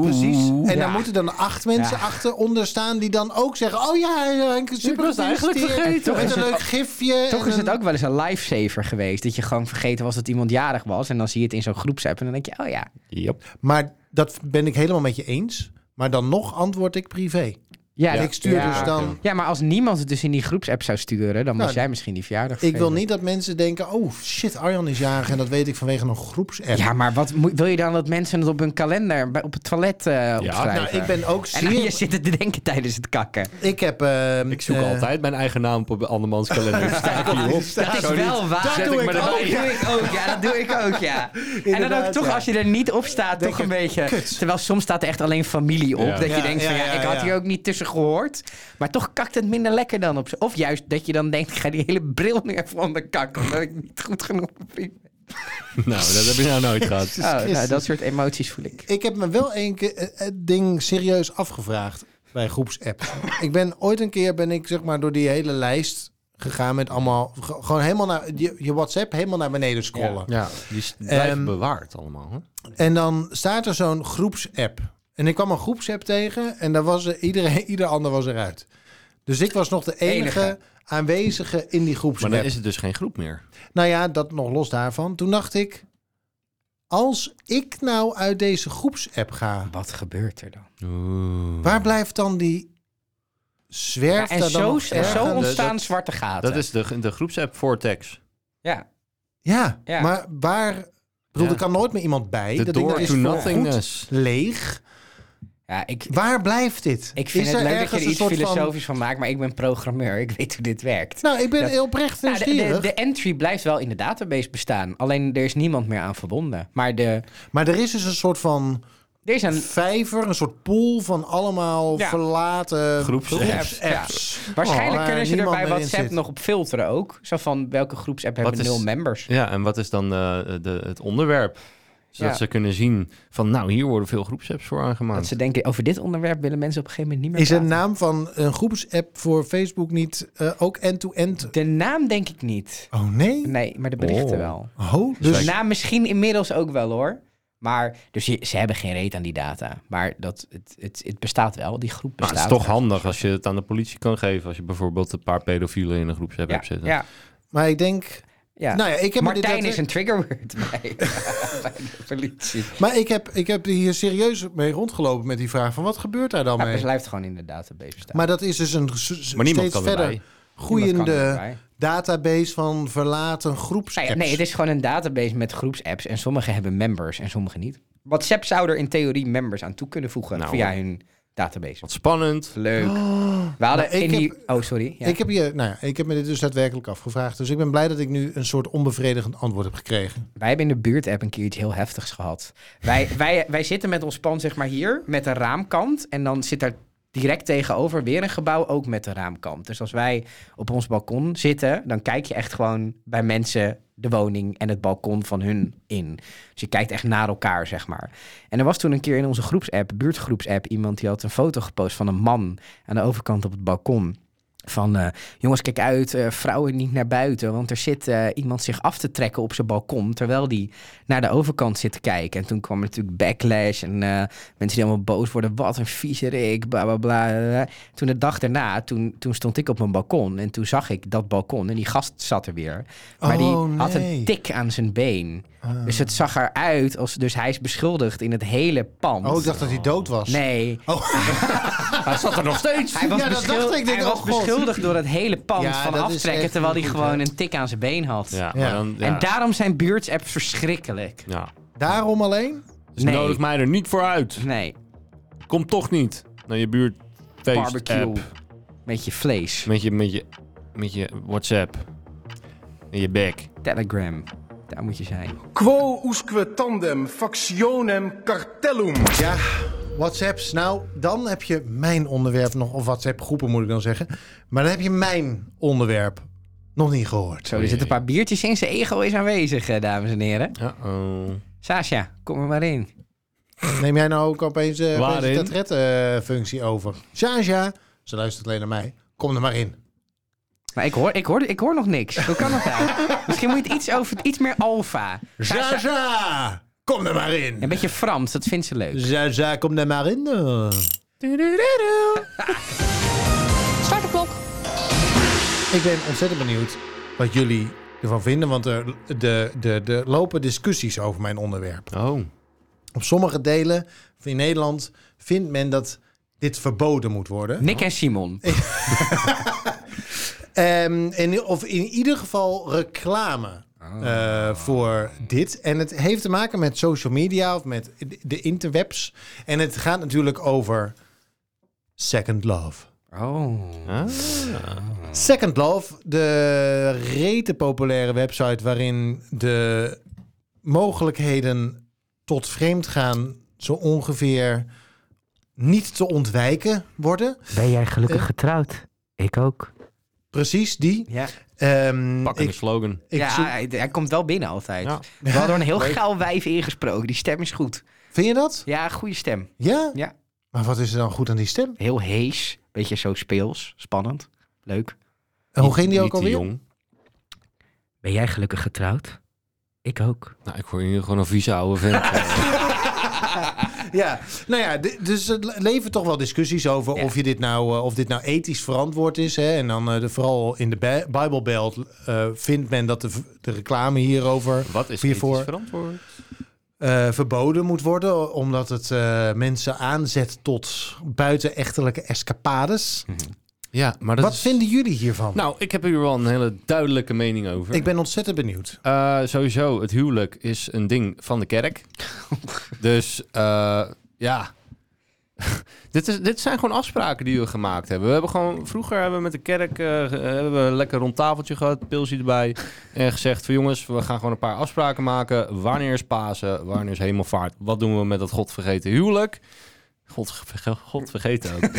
Speaker 2: Precies. En daar moeten dan acht mensen
Speaker 1: Ja.
Speaker 2: achter onder staan die dan ook zeggen, oh ja, ja, ik super
Speaker 3: was het eigenlijk
Speaker 2: gefeliciteerd.
Speaker 1: vergeten.
Speaker 2: Met
Speaker 1: Toch
Speaker 2: een
Speaker 1: is
Speaker 2: leuk gifje.
Speaker 1: Toch
Speaker 2: en
Speaker 1: is het
Speaker 2: een-
Speaker 1: ook wel eens een lifesaver geweest. Dat je gewoon vergeten was dat iemand jarig was. En dan zie je het in zo'n groepsapp. En dan denk je, oh ja.
Speaker 3: Yep.
Speaker 2: Maar dat ben ik helemaal met je eens. Maar dan nog antwoord ik privé.
Speaker 1: Ja,
Speaker 2: En ik stuur
Speaker 1: ja.
Speaker 2: dus dan...
Speaker 1: Ja, maar als niemand het dus in die groepsapp zou sturen, dan
Speaker 2: Nou,
Speaker 1: was jij misschien die verjaardag
Speaker 2: Ik wil
Speaker 1: vergeten.
Speaker 2: niet dat mensen denken... oh shit, Arjan is jarig en dat weet ik vanwege een groepsapp.
Speaker 1: Ja, maar wat moet- wil je dan dat mensen het op hun kalender, bij- op het toilet eh opschrijven?
Speaker 2: nou, ik ben ook
Speaker 1: En dan je
Speaker 2: zeer...
Speaker 1: zit te denken tijdens het kakken.
Speaker 2: Ik heb... ehm,
Speaker 3: Ik zoek
Speaker 2: eh,
Speaker 3: altijd mijn eigen naam op een andermans kalender. Sta ik hierop?
Speaker 1: Dat is
Speaker 3: Zo niet.
Speaker 1: wel waar.
Speaker 3: Zet
Speaker 2: doe
Speaker 3: ik me
Speaker 2: ik
Speaker 1: Oh, dat doe ik
Speaker 3: erbij.
Speaker 1: ook, ja, dat doe ik ook, ja. En dan ook
Speaker 2: Inderdaad,
Speaker 1: toch,
Speaker 2: ja.
Speaker 1: als je er niet op staat, toch een beetje... Terwijl soms staat er echt alleen familie op.
Speaker 3: Ja.
Speaker 1: Dat je
Speaker 2: Ja,
Speaker 1: denkt van,
Speaker 2: ja,
Speaker 1: ja,
Speaker 2: ja,
Speaker 1: ik had
Speaker 2: ja.
Speaker 1: hier ook niet tussen mensen gehoord. Maar toch kakt het minder lekker dan op ze. Of juist dat je dan denkt, ik ga die hele bril nu even onder de kak. Omdat ik niet goed genoeg ben.
Speaker 3: Nou, dat heb je nou nooit gehad.
Speaker 1: Oh, nou,
Speaker 2: Dus Christus.
Speaker 1: dat soort emoties voel ik.
Speaker 2: Ik heb me wel één keer eh, het ding serieus afgevraagd bij groepsapps. ik ben ooit een keer ben ik zeg maar door die hele lijst gegaan met allemaal ge- gewoon helemaal naar je, je WhatsApp helemaal naar beneden scrollen.
Speaker 3: Ja, die is- blijven
Speaker 2: Ehm,
Speaker 3: bewaard allemaal. Hè?
Speaker 2: En dan staat er zo'n groepsapp. En ik kwam een groepsapp tegen en daar was er, iedereen, ieder ander was eruit. Dus ik was nog de enige,
Speaker 1: Enige.
Speaker 2: aanwezige in die
Speaker 3: Maar
Speaker 2: groepsapp.
Speaker 3: dan is het dus geen groep meer.
Speaker 2: Nou ja, dat nog los daarvan. Toen dacht ik, als ik nou uit deze groepsapp ga,
Speaker 1: Wat gebeurt er dan?
Speaker 2: waar blijft dan die zwerf
Speaker 1: en
Speaker 2: daar dan
Speaker 1: zo,
Speaker 2: nog
Speaker 1: en
Speaker 2: ergens?
Speaker 1: zo
Speaker 3: dat-
Speaker 1: ontstaan
Speaker 3: dat-
Speaker 1: zwarte gaten.
Speaker 3: Dat is de, de groepsapp Vortex.
Speaker 1: ja.
Speaker 2: Ja,
Speaker 1: Ja.
Speaker 2: maar waar... Ik bedoel,
Speaker 3: Ja.
Speaker 2: er kan nooit meer iemand bij.
Speaker 3: De
Speaker 2: dat ding
Speaker 3: door
Speaker 2: is
Speaker 3: to
Speaker 2: voorgoed
Speaker 3: nothingness.
Speaker 2: leeg.
Speaker 1: ja, ik,
Speaker 2: Waar blijft dit?
Speaker 1: ik vind
Speaker 2: Is
Speaker 1: het
Speaker 2: er
Speaker 1: leuk dat
Speaker 2: ergens
Speaker 1: je er
Speaker 2: een
Speaker 1: iets
Speaker 2: soort van-
Speaker 1: filosofisch van... maakt, maar ik ben programmeur. Ik weet hoe dit werkt.
Speaker 2: Nou, ik ben
Speaker 1: Dat-
Speaker 2: heel oprecht
Speaker 1: Nou, de,
Speaker 2: nieuwsgierig.
Speaker 1: de, de entry blijft wel in de database bestaan. Alleen er is niemand meer aan verbonden. Maar de,
Speaker 2: Maar er is dus een soort van
Speaker 1: er is
Speaker 2: Oh,
Speaker 1: een,
Speaker 2: vijver, een soort pool van allemaal
Speaker 1: Ja.
Speaker 2: verlaten
Speaker 3: Groepsapps.
Speaker 2: groepsapps. Oh,
Speaker 1: Waarschijnlijk
Speaker 2: waar
Speaker 1: kunnen ze er
Speaker 2: niemand
Speaker 1: bij
Speaker 2: meer in
Speaker 1: WhatsApp
Speaker 2: zit.
Speaker 1: nog op filteren ook. Zo van welke groepsapp hebben
Speaker 3: is-
Speaker 1: nul members.
Speaker 3: Ja, en wat is dan eh, de, het onderwerp? Zodat
Speaker 1: Ja.
Speaker 3: ze kunnen zien van, nou, hier worden veel groepsapps voor
Speaker 1: Dat
Speaker 3: aangemaakt.
Speaker 1: ze denken, over dit onderwerp willen mensen op een gegeven moment niet meer
Speaker 2: Is een
Speaker 1: praten.
Speaker 2: naam van een groepsapp voor Facebook niet eh, ook end-to-end?
Speaker 1: De naam denk ik niet.
Speaker 2: Oh nee?
Speaker 1: Nee, maar de berichten
Speaker 3: Oh.
Speaker 1: wel.
Speaker 2: Oh,
Speaker 1: De
Speaker 2: dus
Speaker 1: naam misschien inmiddels ook wel hoor. Maar, dus je- ze hebben geen reet aan die data. Maar dat, het, het, het bestaat wel, die
Speaker 2: Nou,
Speaker 1: groep
Speaker 3: Maar
Speaker 1: bestaat.
Speaker 3: het is toch handig als je het aan de politie kan geven. Als je bijvoorbeeld een paar pedofielen in een groepsapp
Speaker 1: Ja,
Speaker 3: hebt zitten.
Speaker 1: ja,
Speaker 2: maar ik denk...
Speaker 1: ja.
Speaker 2: Nou ja, ik heb me dit
Speaker 1: Martijn is
Speaker 2: daadwerkelijk-
Speaker 1: een triggerword bij, bij de politie.
Speaker 2: Maar ik heb, ik heb hier serieus mee rondgelopen met die vraag van wat gebeurt daar dan
Speaker 1: Maar
Speaker 2: mee?
Speaker 1: het blijft gewoon in de database staan.
Speaker 2: Maar dat is dus een s- s-
Speaker 3: Maar niemand
Speaker 2: steeds
Speaker 3: kan
Speaker 2: verder
Speaker 3: erbij.
Speaker 1: Niemand kan
Speaker 2: groeiende
Speaker 1: erbij.
Speaker 2: database van verlaten groepsapps.
Speaker 1: Nou ja, nee, het is gewoon een database met groepsapps. En sommige hebben members en sommige niet. WhatsApp zou er in theorie members aan toe kunnen voegen
Speaker 3: Nou.
Speaker 1: via hun database.
Speaker 3: Wat spannend.
Speaker 1: Leuk. We hadden
Speaker 2: Nou, Oh, ik
Speaker 1: in die... Oh, sorry. Ja.
Speaker 2: Ik, heb je, nou ja, ik heb me dit dus daadwerkelijk afgevraagd. Dus ik ben blij dat ik nu een soort onbevredigend antwoord heb gekregen.
Speaker 1: Wij hebben in de buurt-app een keer iets heel heftigs gehad. Wij, wij, wij zitten met ons pand zeg maar hier, met een raamkant. En dan zit daar direct tegenover weer een gebouw, ook met een raamkant. Dus als wij op ons balkon zitten, dan kijk je echt gewoon bij mensen de woning en het balkon van hun in. Dus je kijkt echt naar elkaar, zeg maar. En er was toen een keer in onze groepsapp, buurtgroepsapp, iemand die had een foto gepost van een man aan de overkant op het balkon. Van eh, jongens, kijk uit, eh, vrouwen niet naar buiten. Want er zit eh, iemand zich af te trekken op zijn balkon. Terwijl die naar de overkant zit te kijken. En toen kwam er natuurlijk backlash. En eh, mensen die allemaal boos worden. Wat een vieze rik, bla bla bla. bla, bla. Toen de dag daarna, toen, toen stond ik op mijn balkon. En toen zag ik dat balkon. En die gast zat er weer. Maar die
Speaker 2: Oh,
Speaker 1: had
Speaker 2: nee. Ah.
Speaker 1: een tik aan zijn been. Dus het zag eruit als. Dus hij is beschuldigd in het hele pand.
Speaker 2: Oh, ik dacht dat hij dood was. Oh,
Speaker 1: Nee.
Speaker 3: Hij zat er nog steeds.
Speaker 1: Hij was,
Speaker 2: Ja, dat
Speaker 1: beschul-
Speaker 2: dacht ik. Ik denk,
Speaker 1: hij was
Speaker 2: oh, God.
Speaker 1: beschuldigd door het hele pand
Speaker 2: Ja,
Speaker 1: van
Speaker 2: dat is
Speaker 1: aftrekken,
Speaker 2: echt
Speaker 1: terwijl hij
Speaker 2: niet goed,
Speaker 1: gewoon
Speaker 2: hè?
Speaker 1: een tik aan zijn been had.
Speaker 3: Ja,
Speaker 2: Ja.
Speaker 3: maar dan... Ja.
Speaker 1: En daarom zijn buurtsapps verschrikkelijk.
Speaker 3: ja.
Speaker 2: Daarom alleen?
Speaker 3: Dus
Speaker 1: Nee.
Speaker 3: nodig mij er niet voor uit.
Speaker 1: Nee,
Speaker 3: Kom toch niet naar je buurt.
Speaker 1: barbecue.
Speaker 3: app.
Speaker 1: Met je vlees.
Speaker 3: Met je, met je, met je WhatsApp. In je bek.
Speaker 1: Telegram. Daar moet je zijn.
Speaker 4: Quo usque tandem factionem cartellum.
Speaker 2: Ja, WhatsApps. Nou, dan heb je mijn onderwerp nog, of WhatsApp-groepen moet ik dan zeggen. Maar dan heb je mijn onderwerp nog niet gehoord.
Speaker 1: Zo, er zitten een paar biertjes in. Zijn ego is aanwezig, eh, dames en heren.
Speaker 3: Uh-oh.
Speaker 1: Sasha, kom er maar in.
Speaker 2: Neem jij nou ook opeens eh, opeens de
Speaker 3: Waarin?
Speaker 2: tetret-functie over? Shaja, ze luistert alleen naar mij. Kom er maar in.
Speaker 1: Maar ik hoor, ik, hoor, ik hoor nog niks. Hoe kan dat nou? Misschien moet je het iets, over, iets meer alfa. Sasha,
Speaker 2: Shaja, kom er maar
Speaker 1: een
Speaker 2: in.
Speaker 1: beetje Frans, dat vindt ze leuk.
Speaker 2: Shaja, kom er maar in. eh.
Speaker 5: Start de klok.
Speaker 2: Ik ben ontzettend benieuwd wat jullie ervan vinden, want er, de, de, de lopen discussies over mijn onderwerp.
Speaker 3: Oh.
Speaker 2: Op sommige delen van in Nederland vindt men dat dit verboden moet worden.
Speaker 1: Nick en Simon.
Speaker 2: Ehm, en, of in ieder geval reclame eh, voor dit. En het heeft te maken met social media of met de- de interwebs. En het gaat natuurlijk over Second Love.
Speaker 1: Oh.
Speaker 3: Ah.
Speaker 2: Second Love, de rete populaire website waarin de mogelijkheden tot vreemdgaan zo ongeveer niet te ontwijken worden.
Speaker 7: Ben jij gelukkig
Speaker 2: Eh?
Speaker 7: getrouwd? Ik ook.
Speaker 2: Precies die.
Speaker 1: Ja,
Speaker 2: Ehm,
Speaker 3: Pakkende
Speaker 2: ik,
Speaker 3: slogan.
Speaker 2: ik
Speaker 1: ja eh,
Speaker 2: zoek-
Speaker 1: hij, hij komt wel binnen altijd.
Speaker 3: Ja.
Speaker 1: We hadden een heel gaal wijf ingesproken. Die stem is goed.
Speaker 2: Vind je dat?
Speaker 1: Ja, goede stem.
Speaker 2: Ja?
Speaker 1: Ja.
Speaker 2: Maar wat is er dan goed aan die stem?
Speaker 1: Heel hees. Beetje zo speels. Spannend. Leuk.
Speaker 2: En hoe ging die
Speaker 3: Niet
Speaker 2: ook
Speaker 3: te
Speaker 2: alweer?
Speaker 3: jong.
Speaker 7: Ben jij gelukkig getrouwd? Ik ook.
Speaker 3: Nou, ik hoor hier gewoon een vieze oude vent.
Speaker 2: Ja, nou ja, d- dus het le- levert toch wel discussies over
Speaker 1: Ja.
Speaker 2: of, je dit nou, eh, of dit nou ethisch verantwoord is. Hè? En dan eh, de, vooral in de Bi- Bible Belt eh, vindt men dat de, v- de reclame hierover
Speaker 3: Wat is
Speaker 2: Hiervoor-
Speaker 3: hiervoor verantwoord?
Speaker 2: eh, verboden moet worden. Omdat het eh, mensen aanzet tot buitenechtelijke escapades.
Speaker 3: Ja, maar dat
Speaker 2: Wat
Speaker 3: is-
Speaker 2: vinden jullie hiervan?
Speaker 3: Nou, ik heb hier wel een hele duidelijke mening over.
Speaker 2: ik ben ontzettend benieuwd.
Speaker 3: Eh, sowieso, het huwelijk is een ding van de kerk. dus eh, ja. dit, is, dit zijn gewoon afspraken die we gemaakt hebben. We hebben gewoon, vroeger hebben we met de kerk eh, ge- hebben we een lekker rond tafeltje gehad, pilsje erbij. en gezegd van jongens, we gaan gewoon een paar afspraken maken. Wanneer is Pasen? Wanneer is hemelvaart? Wat doen we met dat godvergeten huwelijk? Godverge- Godvergeten ook.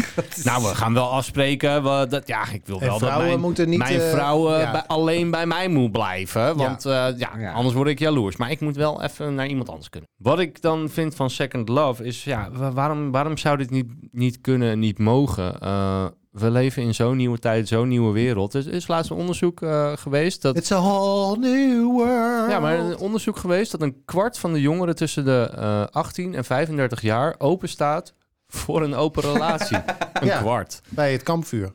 Speaker 3: nou, we gaan wel afspreken. we- dat, ja, ik wil
Speaker 2: En
Speaker 3: wel dat
Speaker 2: vrouwen
Speaker 3: mijn,
Speaker 2: moeten niet,
Speaker 3: mijn
Speaker 2: eh,
Speaker 3: vrouw eh,
Speaker 2: ja.
Speaker 3: bij- alleen bij mij moet blijven. Want eh, ja,
Speaker 1: Ja.
Speaker 3: anders word ik jaloers. Maar ik moet wel even naar iemand anders kunnen. Wat ik dan vind van Second Love is... Ja, wa- waarom, waarom zou dit niet, niet kunnen en niet mogen? Eh, we leven in zo'n nieuwe tijd, zo'n nieuwe wereld. Er is laatst een onderzoek eh, geweest... dat
Speaker 2: It's a whole new world.
Speaker 3: ja, maar er is een onderzoek geweest dat een kwart van de jongeren tussen de eh, 18 en 35 jaar open staat voor een open relatie. een
Speaker 2: Ja.
Speaker 3: kwart.
Speaker 2: Bij het kampvuur.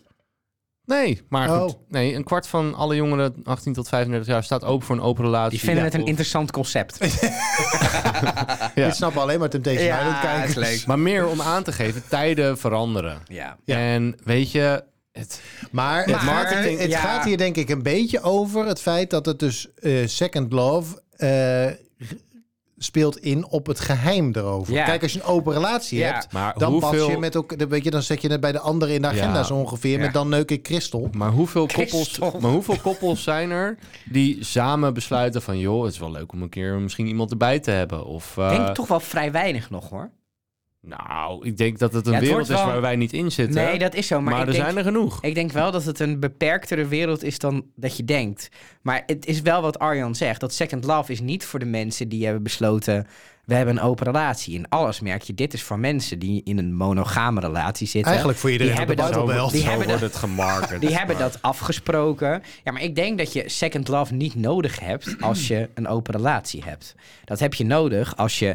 Speaker 3: Nee, maar
Speaker 2: Oh.
Speaker 3: goed. Nee, een kwart van alle jongeren 18 tot 35 jaar staat open voor een open relatie.
Speaker 1: Die vinden
Speaker 3: Ja,
Speaker 1: het een
Speaker 3: of-
Speaker 1: interessant concept.
Speaker 3: Ja.
Speaker 2: Ik snap alleen maar Temptation
Speaker 1: Ja,
Speaker 2: Island kijken.
Speaker 1: is leuk.
Speaker 3: Maar meer om aan te geven, tijden veranderen.
Speaker 1: Ja.
Speaker 2: Ja.
Speaker 3: En weet je, het,
Speaker 2: Maar,
Speaker 1: Maar,
Speaker 2: het, marketing, het
Speaker 1: ja.
Speaker 2: gaat hier denk ik een beetje over het feit dat het dus eh, Second Love eh, speelt in op het geheim erover.
Speaker 1: Ja.
Speaker 2: Kijk, als je een open relatie
Speaker 1: Ja.
Speaker 2: hebt,
Speaker 3: maar,
Speaker 2: dan
Speaker 3: hoeveel,
Speaker 2: pas je met elkaar, dan weet je, dan zet je het bij de anderen in de agenda
Speaker 3: Ja.
Speaker 2: zo ongeveer.
Speaker 1: Ja.
Speaker 2: Met dan neuk ik Christel.
Speaker 3: maar, hoeveel koppels,
Speaker 1: Christophe.
Speaker 3: maar hoeveel koppels zijn er die samen besluiten van... joh, het is wel leuk om een keer misschien iemand erbij te hebben. Of, eh,
Speaker 1: Ik denk toch wel vrij weinig nog hoor.
Speaker 3: Nou, ik denk dat het een
Speaker 1: Ja, het
Speaker 3: wereld
Speaker 1: wordt
Speaker 3: is
Speaker 1: wel-
Speaker 3: waar wij niet in zitten.
Speaker 1: Nee, dat is zo. Maar,
Speaker 3: maar
Speaker 1: ik,
Speaker 3: er
Speaker 1: denk,
Speaker 3: zijn er genoeg.
Speaker 1: ik denk wel dat het een beperktere wereld is dan dat je denkt. Maar het is wel wat Arjan zegt. Dat Second Love is niet voor de mensen die hebben besloten... we hebben een open relatie. In alles merk je, dit is voor mensen die in een monogame relatie zitten.
Speaker 2: Eigenlijk voor iedereen
Speaker 1: Die
Speaker 2: op de
Speaker 1: hebben dat-
Speaker 2: Bible Belt.
Speaker 1: die
Speaker 3: Zo
Speaker 1: hebben
Speaker 3: wordt
Speaker 1: dat-
Speaker 3: het gemarket.
Speaker 1: Die hebben
Speaker 3: Maar-
Speaker 1: dat afgesproken. Ja, maar ik denk dat je second love niet nodig hebt als je een open relatie hebt. Dat heb je nodig als je...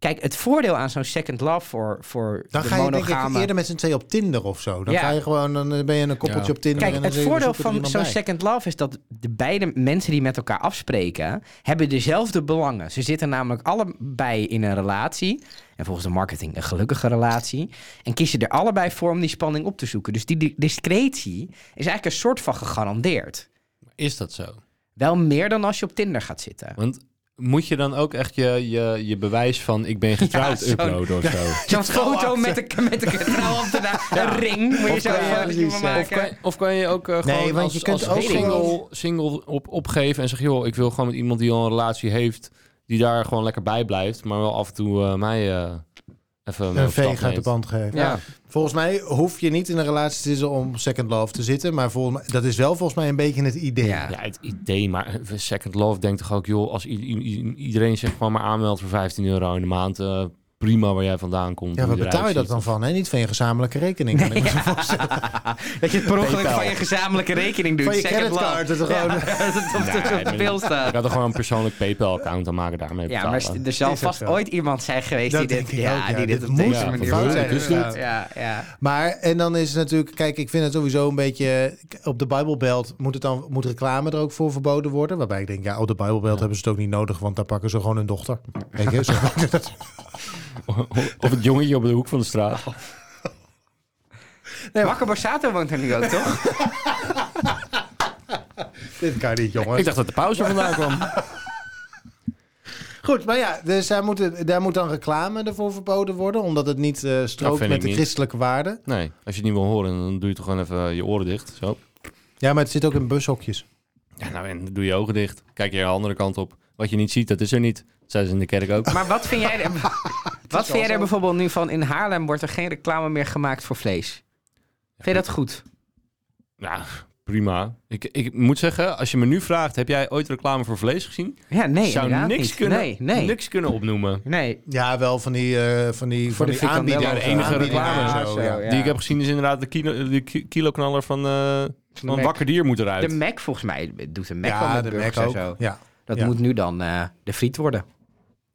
Speaker 1: Kijk, het voordeel aan zo'n second love voor, voor
Speaker 2: Dan
Speaker 1: de
Speaker 2: ga je denk ik
Speaker 1: monogame...
Speaker 2: eerder met z'n tweeën op Tinder of zo. Dan
Speaker 1: Ja.
Speaker 2: ga je gewoon, dan eh, ben je een koppeltje
Speaker 3: Ja.
Speaker 2: op Tinder. en
Speaker 1: Kijk,
Speaker 2: dan
Speaker 1: het
Speaker 2: zeg je, we
Speaker 1: voordeel
Speaker 2: zoeken er
Speaker 1: van
Speaker 2: iemand
Speaker 1: zo'n
Speaker 2: bij.
Speaker 1: second love is dat de beide mensen die met elkaar afspreken, hebben dezelfde belangen. Ze zitten namelijk allebei in een relatie. En volgens de marketing een gelukkige relatie. En kiezen er allebei voor om die spanning op te zoeken. Dus die di- discretie is eigenlijk een soort van gegarandeerd.
Speaker 3: Is dat zo?
Speaker 1: Wel meer dan als je op Tinder gaat zitten.
Speaker 3: Want moet je dan ook echt je, je, je bewijs van ik ben getrouwd
Speaker 1: zo'n-
Speaker 3: uploaden of zo?
Speaker 1: Zo'n foto met de, met de trouwambtenaar, een ring moet je zo
Speaker 2: ja,
Speaker 1: van
Speaker 2: precies,
Speaker 1: iemand
Speaker 2: ja.
Speaker 3: Of kan,
Speaker 1: maken.
Speaker 3: of kan je ook eh, gewoon
Speaker 2: want
Speaker 3: als,
Speaker 2: je kunt
Speaker 3: als
Speaker 2: ook
Speaker 3: single,
Speaker 2: gewoon-
Speaker 3: single op, opgeven en zeggen... joh, ik wil gewoon met iemand die al een relatie heeft... die daar gewoon lekker bij blijft... maar wel af en toe eh, mij eh even... mee
Speaker 2: Een
Speaker 3: op stap
Speaker 2: veeg uit de
Speaker 3: neemt.
Speaker 2: band geven.
Speaker 1: Ja.
Speaker 2: Volgens mij hoef je niet in een relatie te zitten om second love te zitten. Maar volgens mij, dat is wel volgens mij een beetje het idee.
Speaker 1: Ja.
Speaker 3: Ja, het idee, maar eh, Second Love denkt toch ook... joh, als i- i- i- iedereen zich gewoon maar aanmeldt voor 15 euro in de maand... eh, prima waar jij vandaan komt.
Speaker 2: Ja,
Speaker 3: hoe
Speaker 2: waar betaal je
Speaker 3: eruit
Speaker 2: dat
Speaker 3: ziet.
Speaker 2: dan van? Hè? Niet van je gezamenlijke rekening. kan ik me zo voorstellen.
Speaker 1: Dat je het per ongeluk
Speaker 3: PayPal.
Speaker 1: van je gezamenlijke rekening doet.
Speaker 2: Van je
Speaker 1: Second love.
Speaker 2: creditcard. Dat is gewoon...
Speaker 1: dat het op de- op
Speaker 3: Nee,
Speaker 1: de
Speaker 3: maar-
Speaker 1: pil staat.
Speaker 3: Ik had er gewoon een persoonlijk PayPal-account aan maken daarmee
Speaker 1: Ja, maar
Speaker 3: betalen.
Speaker 1: st- er zal
Speaker 2: Is ook
Speaker 1: vast
Speaker 2: zo.
Speaker 1: ooit iemand zijn geweest
Speaker 2: Dat
Speaker 1: die
Speaker 2: denk
Speaker 1: dit,
Speaker 2: ik
Speaker 1: ja,
Speaker 2: ook, ja.
Speaker 1: die dit op
Speaker 2: Dit moet dus
Speaker 1: deze
Speaker 3: een
Speaker 1: manier
Speaker 3: fout zijn,
Speaker 1: doet.
Speaker 3: inderdaad.
Speaker 1: Ja, ja.
Speaker 2: Maar, en dan is het natuurlijk... Kijk, ik vind het sowieso een beetje... Op de Bijbelbelt moet, het dan, moet reclame er ook voor verboden worden. Waarbij ik denk, ja, op de Bijbelbelt hebben ze het ook niet nodig. Want daar pakken ze gewoon hun dochter. Weet je, zo.
Speaker 3: Of het jongetje op de hoek van de straat.
Speaker 1: Marco Borsato woont er nu ook, toch?
Speaker 2: Dit kan niet, jongen.
Speaker 3: Ik dacht dat de pauze vandaan kwam.
Speaker 2: Goed, maar ja, dus daar, moet, daar moet dan reclame ervoor verboden worden. Omdat het niet eh, strookt
Speaker 3: vind
Speaker 2: met
Speaker 3: ik
Speaker 2: de
Speaker 3: niet.
Speaker 2: christelijke waarden.
Speaker 3: Nee, als je het niet wil horen, dan doe je toch gewoon even je oren dicht. Zo.
Speaker 2: Ja, maar het zit ook in bushokjes.
Speaker 3: Ja, nou, en dan doe je ogen dicht. Kijk je de andere kant op. Wat je niet ziet, dat is er niet. Dat zijn ze in de kerk ook.
Speaker 1: Maar wat vind jij... er- Wat vind
Speaker 2: is
Speaker 1: jij
Speaker 2: wel
Speaker 1: er
Speaker 2: zo.
Speaker 1: bijvoorbeeld nu van? In Haarlem wordt er geen reclame meer gemaakt voor vlees. Vind je dat goed?
Speaker 3: Ja, prima. Ik, ik moet zeggen, als je me nu vraagt, heb jij ooit reclame voor vlees gezien?
Speaker 1: Ja, nee,
Speaker 3: Ik zou
Speaker 1: inderdaad
Speaker 3: niks,
Speaker 1: niet.
Speaker 3: Kunnen,
Speaker 1: Nee, nee.
Speaker 3: niks kunnen opnoemen.
Speaker 1: Nee,
Speaker 2: Ja, wel van die, eh van die, van
Speaker 1: de
Speaker 2: die
Speaker 1: frikandellen
Speaker 2: aanbieders.
Speaker 1: Ja, de
Speaker 2: van
Speaker 3: enige
Speaker 2: aanbieders
Speaker 3: reclame
Speaker 2: en
Speaker 1: zo,
Speaker 2: ja.
Speaker 1: ja.
Speaker 3: Die ik heb gezien is inderdaad de, kilo, de ki- kiloknaller van, eh van
Speaker 1: Mac.
Speaker 3: Wakker Dier moet
Speaker 1: de
Speaker 3: eruit.
Speaker 1: Mac volgens mij doet de Mac
Speaker 2: Ja,
Speaker 1: wel met
Speaker 2: de
Speaker 1: burgers
Speaker 2: Mac
Speaker 1: en zo.
Speaker 2: ook. Ja.
Speaker 1: Dat
Speaker 2: Ja.
Speaker 1: moet nu dan eh, de friet worden.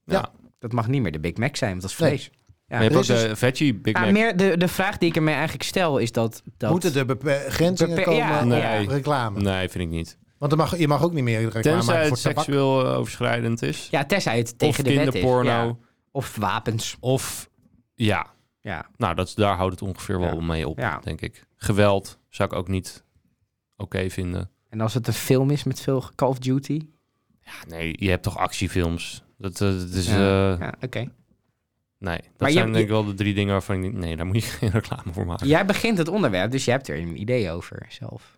Speaker 3: ja.
Speaker 1: Dat mag niet meer de Big Mac zijn, want dat is
Speaker 2: Nee.
Speaker 1: vlees. Ja.
Speaker 3: Maar je hebt ook
Speaker 2: Dus
Speaker 3: de veggie Big
Speaker 1: Ja,
Speaker 3: Mac.
Speaker 1: meer de, de vraag die ik ermee eigenlijk stel is dat... dat
Speaker 2: Moeten er begrenzingen
Speaker 1: Beper-
Speaker 2: komen
Speaker 1: ja,
Speaker 2: op
Speaker 3: nee.
Speaker 2: reclame?
Speaker 3: Nee, vind ik niet.
Speaker 2: Want er mag, je mag ook niet meer reclame
Speaker 3: Tenzij
Speaker 2: maken
Speaker 3: het
Speaker 2: voor tabak.
Speaker 3: seksueel eh, overschrijdend is.
Speaker 1: ja, tenzij het
Speaker 3: of
Speaker 1: tegen de wet is.
Speaker 3: kinderporno.
Speaker 1: Ja. Of wapens.
Speaker 3: Of, ja,
Speaker 1: Ja.
Speaker 3: nou, dat, is- daar houdt het ongeveer wel
Speaker 1: Ja.
Speaker 3: mee op,
Speaker 1: Ja.
Speaker 3: denk ik. Geweld zou ik ook niet oké vinden.
Speaker 1: En als het een film is met veel Call of Duty?
Speaker 3: Ja, nee, je hebt toch actiefilms? Dat, eh, dat is,
Speaker 1: Ja.
Speaker 3: eh,
Speaker 1: Ja, oké.
Speaker 3: nee. Dat
Speaker 1: Maar je-
Speaker 3: zijn denk ik wel de drie dingen waarvan ik denk, nee, daar moet je geen reclame voor maken.
Speaker 1: Jij begint het onderwerp, dus je hebt er een idee over zelf.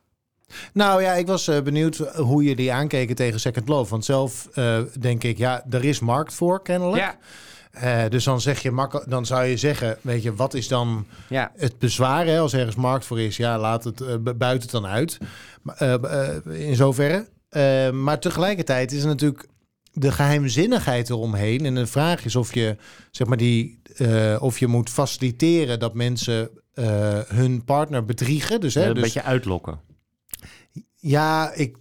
Speaker 2: Nou ja, ik was eh, benieuwd hoe jullie aankeken tegen Second Love. Want zelf eh, denk ik, ja, er is markt voor kennelijk.
Speaker 1: Ja,
Speaker 2: Eh, dus dan, zeg je makkel- dan zou je zeggen, weet je, wat is dan
Speaker 1: ja.
Speaker 2: het bezwaar? Hè? Als ergens markt voor is, ja, laat het, eh, bu- buit het dan uit. Maar, eh, eh, in zoverre. Eh, maar tegelijkertijd is er natuurlijk de geheimzinnigheid eromheen. En de vraag is of je, zeg maar die, eh, of je moet faciliteren dat mensen eh, hun partner bedriegen. Dus, hè,
Speaker 3: een
Speaker 2: dus
Speaker 3: beetje uitlokken.
Speaker 2: ja, ik,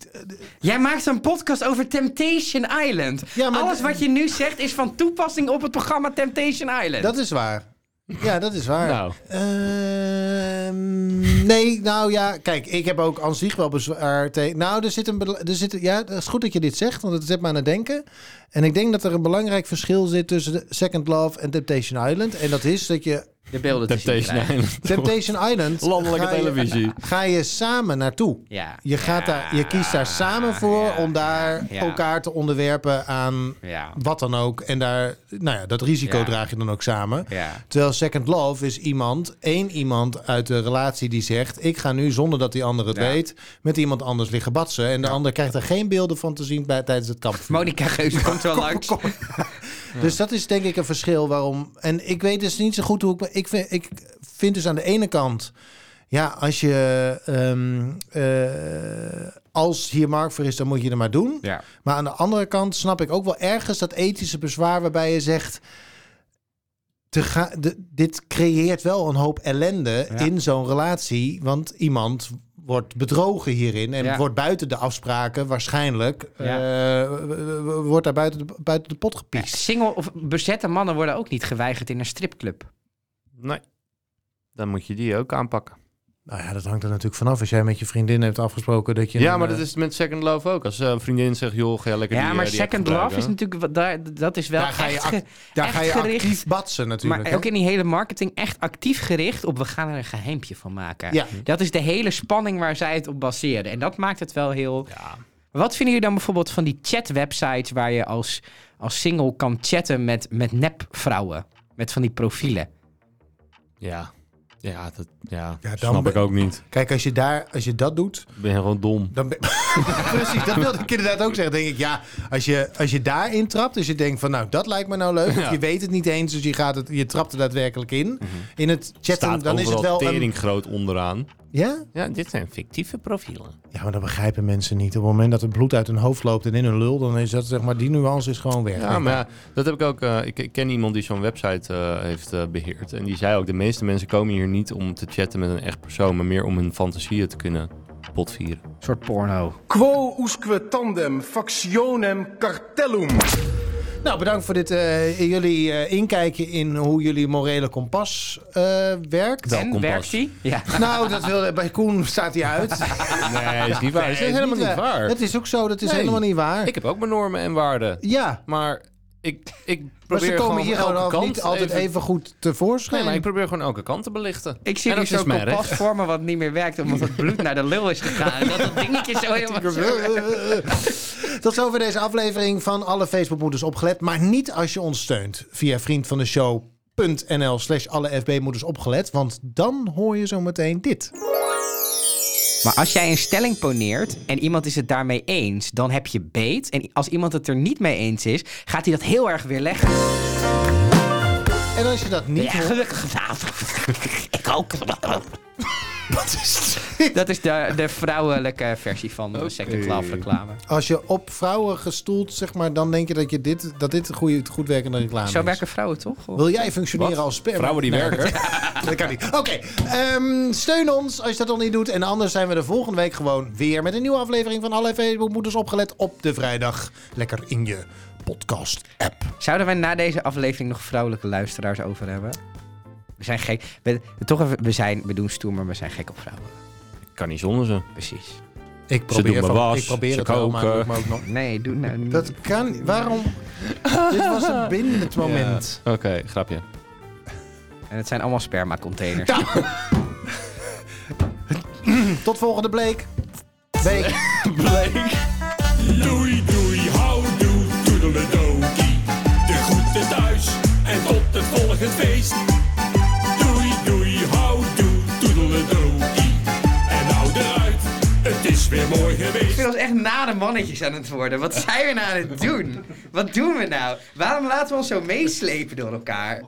Speaker 1: Jij maakt een podcast over Temptation Island.
Speaker 2: Ja, maar
Speaker 1: Alles
Speaker 2: d-
Speaker 1: wat je nu zegt is van toepassing op het programma Temptation Island.
Speaker 2: dat is waar. Ja, dat is waar.
Speaker 1: Dus
Speaker 3: Nou,
Speaker 2: Ehm, nee, nou ja, kijk, ik heb ook aan zich wel bezwaar tegen. Nou, er zit een. bela- Er zit, ja, het is goed dat je dit zegt, want het zet me aan het denken. En ik denk dat er een belangrijk verschil zit tussen de Second Love en Temptation Island. En dat is dat je.
Speaker 1: De beelden te zien
Speaker 3: Temptation
Speaker 1: krijgen.
Speaker 3: Island.
Speaker 2: Temptation Island.
Speaker 3: Landelijke
Speaker 2: ga je-
Speaker 3: televisie.
Speaker 2: Ga je samen naartoe.
Speaker 1: Ja.
Speaker 2: Je,
Speaker 1: Ja.
Speaker 2: gaat daar, je kiest daar samen voor
Speaker 1: Ja.
Speaker 2: om daar
Speaker 1: Ja.
Speaker 2: elkaar te onderwerpen aan
Speaker 1: Ja.
Speaker 2: wat dan ook. En daar, nou ja, dat risico
Speaker 1: Ja.
Speaker 2: draag je dan ook samen.
Speaker 1: Ja.
Speaker 2: Terwijl Second Love is iemand, één iemand uit de relatie die zegt: Ik ga nu zonder dat die ander het
Speaker 1: Ja.
Speaker 2: weet, met iemand anders liggen batsen. En de ander krijgt er geen beelden van te zien bij, tijdens het kamp.
Speaker 1: Monica Geuze komt wel langs.
Speaker 2: Dus dat is denk ik een verschil waarom. En ik weet dus niet zo goed hoe ik. me- Ik vind, ik vind dus aan de ene kant. Ja, als je. ehm, eh, als hier markt voor is, dan moet je er maar doen.
Speaker 1: Ja.
Speaker 2: Maar aan de andere kant snap ik ook wel ergens dat ethische bezwaar waarbij je zegt. Te ga, de- dit creëert wel een hoop ellende
Speaker 1: Ja.
Speaker 2: in zo'n relatie. Want iemand wordt bedrogen hierin en
Speaker 1: Ja.
Speaker 2: wordt buiten de afspraken waarschijnlijk.
Speaker 1: Ja.
Speaker 2: eh, w- w- w- wordt daar buiten de, buiten de pot gepiest.
Speaker 1: Single of bezette mannen worden ook niet geweigerd in een stripclub.
Speaker 3: Nee, dan moet je die ook aanpakken.
Speaker 2: Nou ja, dat hangt er natuurlijk vanaf. Als jij met je vriendin hebt afgesproken dat je...
Speaker 3: Ja,
Speaker 2: een,
Speaker 3: maar dat
Speaker 2: eh,
Speaker 3: is met Second Love ook. Als eh, een vriendin zegt, joh, ga lekker die,
Speaker 1: Ja,
Speaker 3: eh,
Speaker 1: maar
Speaker 3: die app
Speaker 1: Second Love is
Speaker 3: gebruiken.
Speaker 1: natuurlijk... wat- Daar, dat is wel
Speaker 2: Daar ga je
Speaker 1: echt
Speaker 2: act-
Speaker 1: ge-
Speaker 2: Daar
Speaker 1: echt
Speaker 2: ga je
Speaker 1: gericht.
Speaker 2: actief batsen natuurlijk.
Speaker 1: Maar
Speaker 2: hè?
Speaker 1: ook in die hele marketing echt actief gericht op... we gaan er een geheimpje van maken.
Speaker 2: Ja.
Speaker 1: Dat is de hele spanning waar zij het op baseerden. En dat maakt het wel heel... Wat vinden jullie dan bijvoorbeeld van die chatwebsites... waar je als, als single kan chatten met, met nepvrouwen? Met van die profielen.
Speaker 3: Ja, ja dat ja,
Speaker 2: Ja, dan
Speaker 3: snap
Speaker 2: ben-
Speaker 3: ik ook niet.
Speaker 2: Kijk, als je, daar, als je dat doet,
Speaker 3: Ik ben gewoon dom.
Speaker 2: dan ben... Precies, dat wilde ik inderdaad ook zeggen. denk ik, ja, als je, als je daarin trapt, dus je denkt van... nou, dat lijkt me nou leuk. Je weet het niet eens, dus je, gaat het, je trapt er daadwerkelijk in. In het chatten,
Speaker 3: Mhm. Staat
Speaker 2: dan is het wel... een-
Speaker 3: tering groot onderaan.
Speaker 2: Ja?
Speaker 3: Ja, dit zijn fictieve profielen.
Speaker 2: ja, maar dat begrijpen mensen niet. Op het moment dat het bloed uit hun hoofd loopt en in hun lul... dan is dat, zeg maar, die nuance is gewoon weg.
Speaker 3: Ja, maar ja, dat heb ik ook. eh, ik, ik ken iemand die zo'n website eh, heeft eh, beheerd. En die zei ook, de meeste mensen komen hier niet om te chatten met een echt persoon, maar meer om hun fantasieën te kunnen potvieren.
Speaker 1: Een soort porno.
Speaker 4: Quo usque tandem factionem cartellum.
Speaker 2: Nou, bedankt voor dit, eh, jullie eh, inkijkje in hoe jullie morele kompas eh, werkt.
Speaker 3: Wel
Speaker 1: en
Speaker 3: kompas.
Speaker 1: werkt die? Ja.
Speaker 2: Nou, dat wilde, bij Koen staat hij uit. Dat
Speaker 3: Nee, is niet waar. dat is helemaal niet waar.
Speaker 2: Het is ook zo, dat is
Speaker 3: Nee.
Speaker 2: helemaal niet waar.
Speaker 3: Ik heb ook mijn normen en waarden.
Speaker 2: ja,
Speaker 3: Maar ik, ik
Speaker 2: maar
Speaker 3: probeer
Speaker 2: ze komen
Speaker 3: gewoon
Speaker 2: hier
Speaker 3: elke
Speaker 2: gewoon
Speaker 3: kant
Speaker 2: niet altijd even, goed
Speaker 3: Nee,
Speaker 2: tevoorschijn.
Speaker 3: maar ik probeer gewoon elke kant te belichten.
Speaker 1: Ik zie
Speaker 3: En
Speaker 1: nu
Speaker 3: dat is
Speaker 1: zo'n
Speaker 3: mijn
Speaker 1: kompas
Speaker 3: recht.
Speaker 1: voor me wat niet meer werkt... omdat het bloed naar de lul is gegaan. En dat dat dingetje zo helemaal...
Speaker 2: Tot zover deze aflevering van alle Facebookmoeders opgelet. Maar niet als je ons steunt via vriendvandeshow.nl slash alle FB-moeders opgelet. Want dan hoor je zo meteen dit.
Speaker 1: Maar als jij een stelling poneert en iemand is het daarmee eens, dan heb je beet. En als iemand het er niet mee eens is, gaat hij dat heel erg weer leggen.
Speaker 2: En als je dat niet
Speaker 1: Ja,
Speaker 2: hoort...
Speaker 1: gelukkig gedaan.
Speaker 6: Ik ook.
Speaker 2: Wat is dit?
Speaker 1: Dat is de, de vrouwelijke versie van de Second Love reclame.
Speaker 2: Als je op vrouwen gestoeld, zeg maar, dan denk je dat, je dit, dat dit een goede, goed werkende reclame
Speaker 1: Zo
Speaker 2: is.
Speaker 1: werken vrouwen toch? Of-
Speaker 2: Wil jij functioneren als sperma?
Speaker 3: Vrouwen die
Speaker 2: Nee,
Speaker 3: werken.
Speaker 2: Dat kan niet. Oké, ehm, steun ons als je dat nog niet doet. En anders zijn we de volgende week gewoon weer met een nieuwe aflevering van Alle Facebookmoeders opgelet op de vrijdag. Lekker in je podcast-app.
Speaker 1: Zouden wij na deze aflevering nog vrouwelijke luisteraars over hebben? We zijn gek. We, toch even, we, zijn, we doen stoer, maar we zijn gek op vrouwen.
Speaker 3: Kan niet zonder ze.
Speaker 1: Precies.
Speaker 2: Ik
Speaker 3: doen
Speaker 2: probeer,
Speaker 3: mijn
Speaker 2: van,
Speaker 3: was,
Speaker 2: ik probeer
Speaker 3: ze
Speaker 2: het wel, maar het
Speaker 3: koken.
Speaker 2: lukt me ook nog.
Speaker 1: Nee, doe nou niet.
Speaker 2: Dat kan niet. Waarom? Dit was een bindend moment.
Speaker 3: Oké, grapje.
Speaker 1: En het zijn allemaal spermacontainers.
Speaker 2: Tot volgende bleek. Week.
Speaker 8: Doei doei, houdoe, toedeledokie. De groeten thuis en tot het volgende feest. Doei doei, houdoe, toedeledokie. En nou eruit, het is weer mooi geweest.
Speaker 1: Ik vind ons echt nare mannetjes aan het worden. Wat zijn we nou aan het doen? Wat doen we nou? Waarom laten we ons zo meeslepen door elkaar?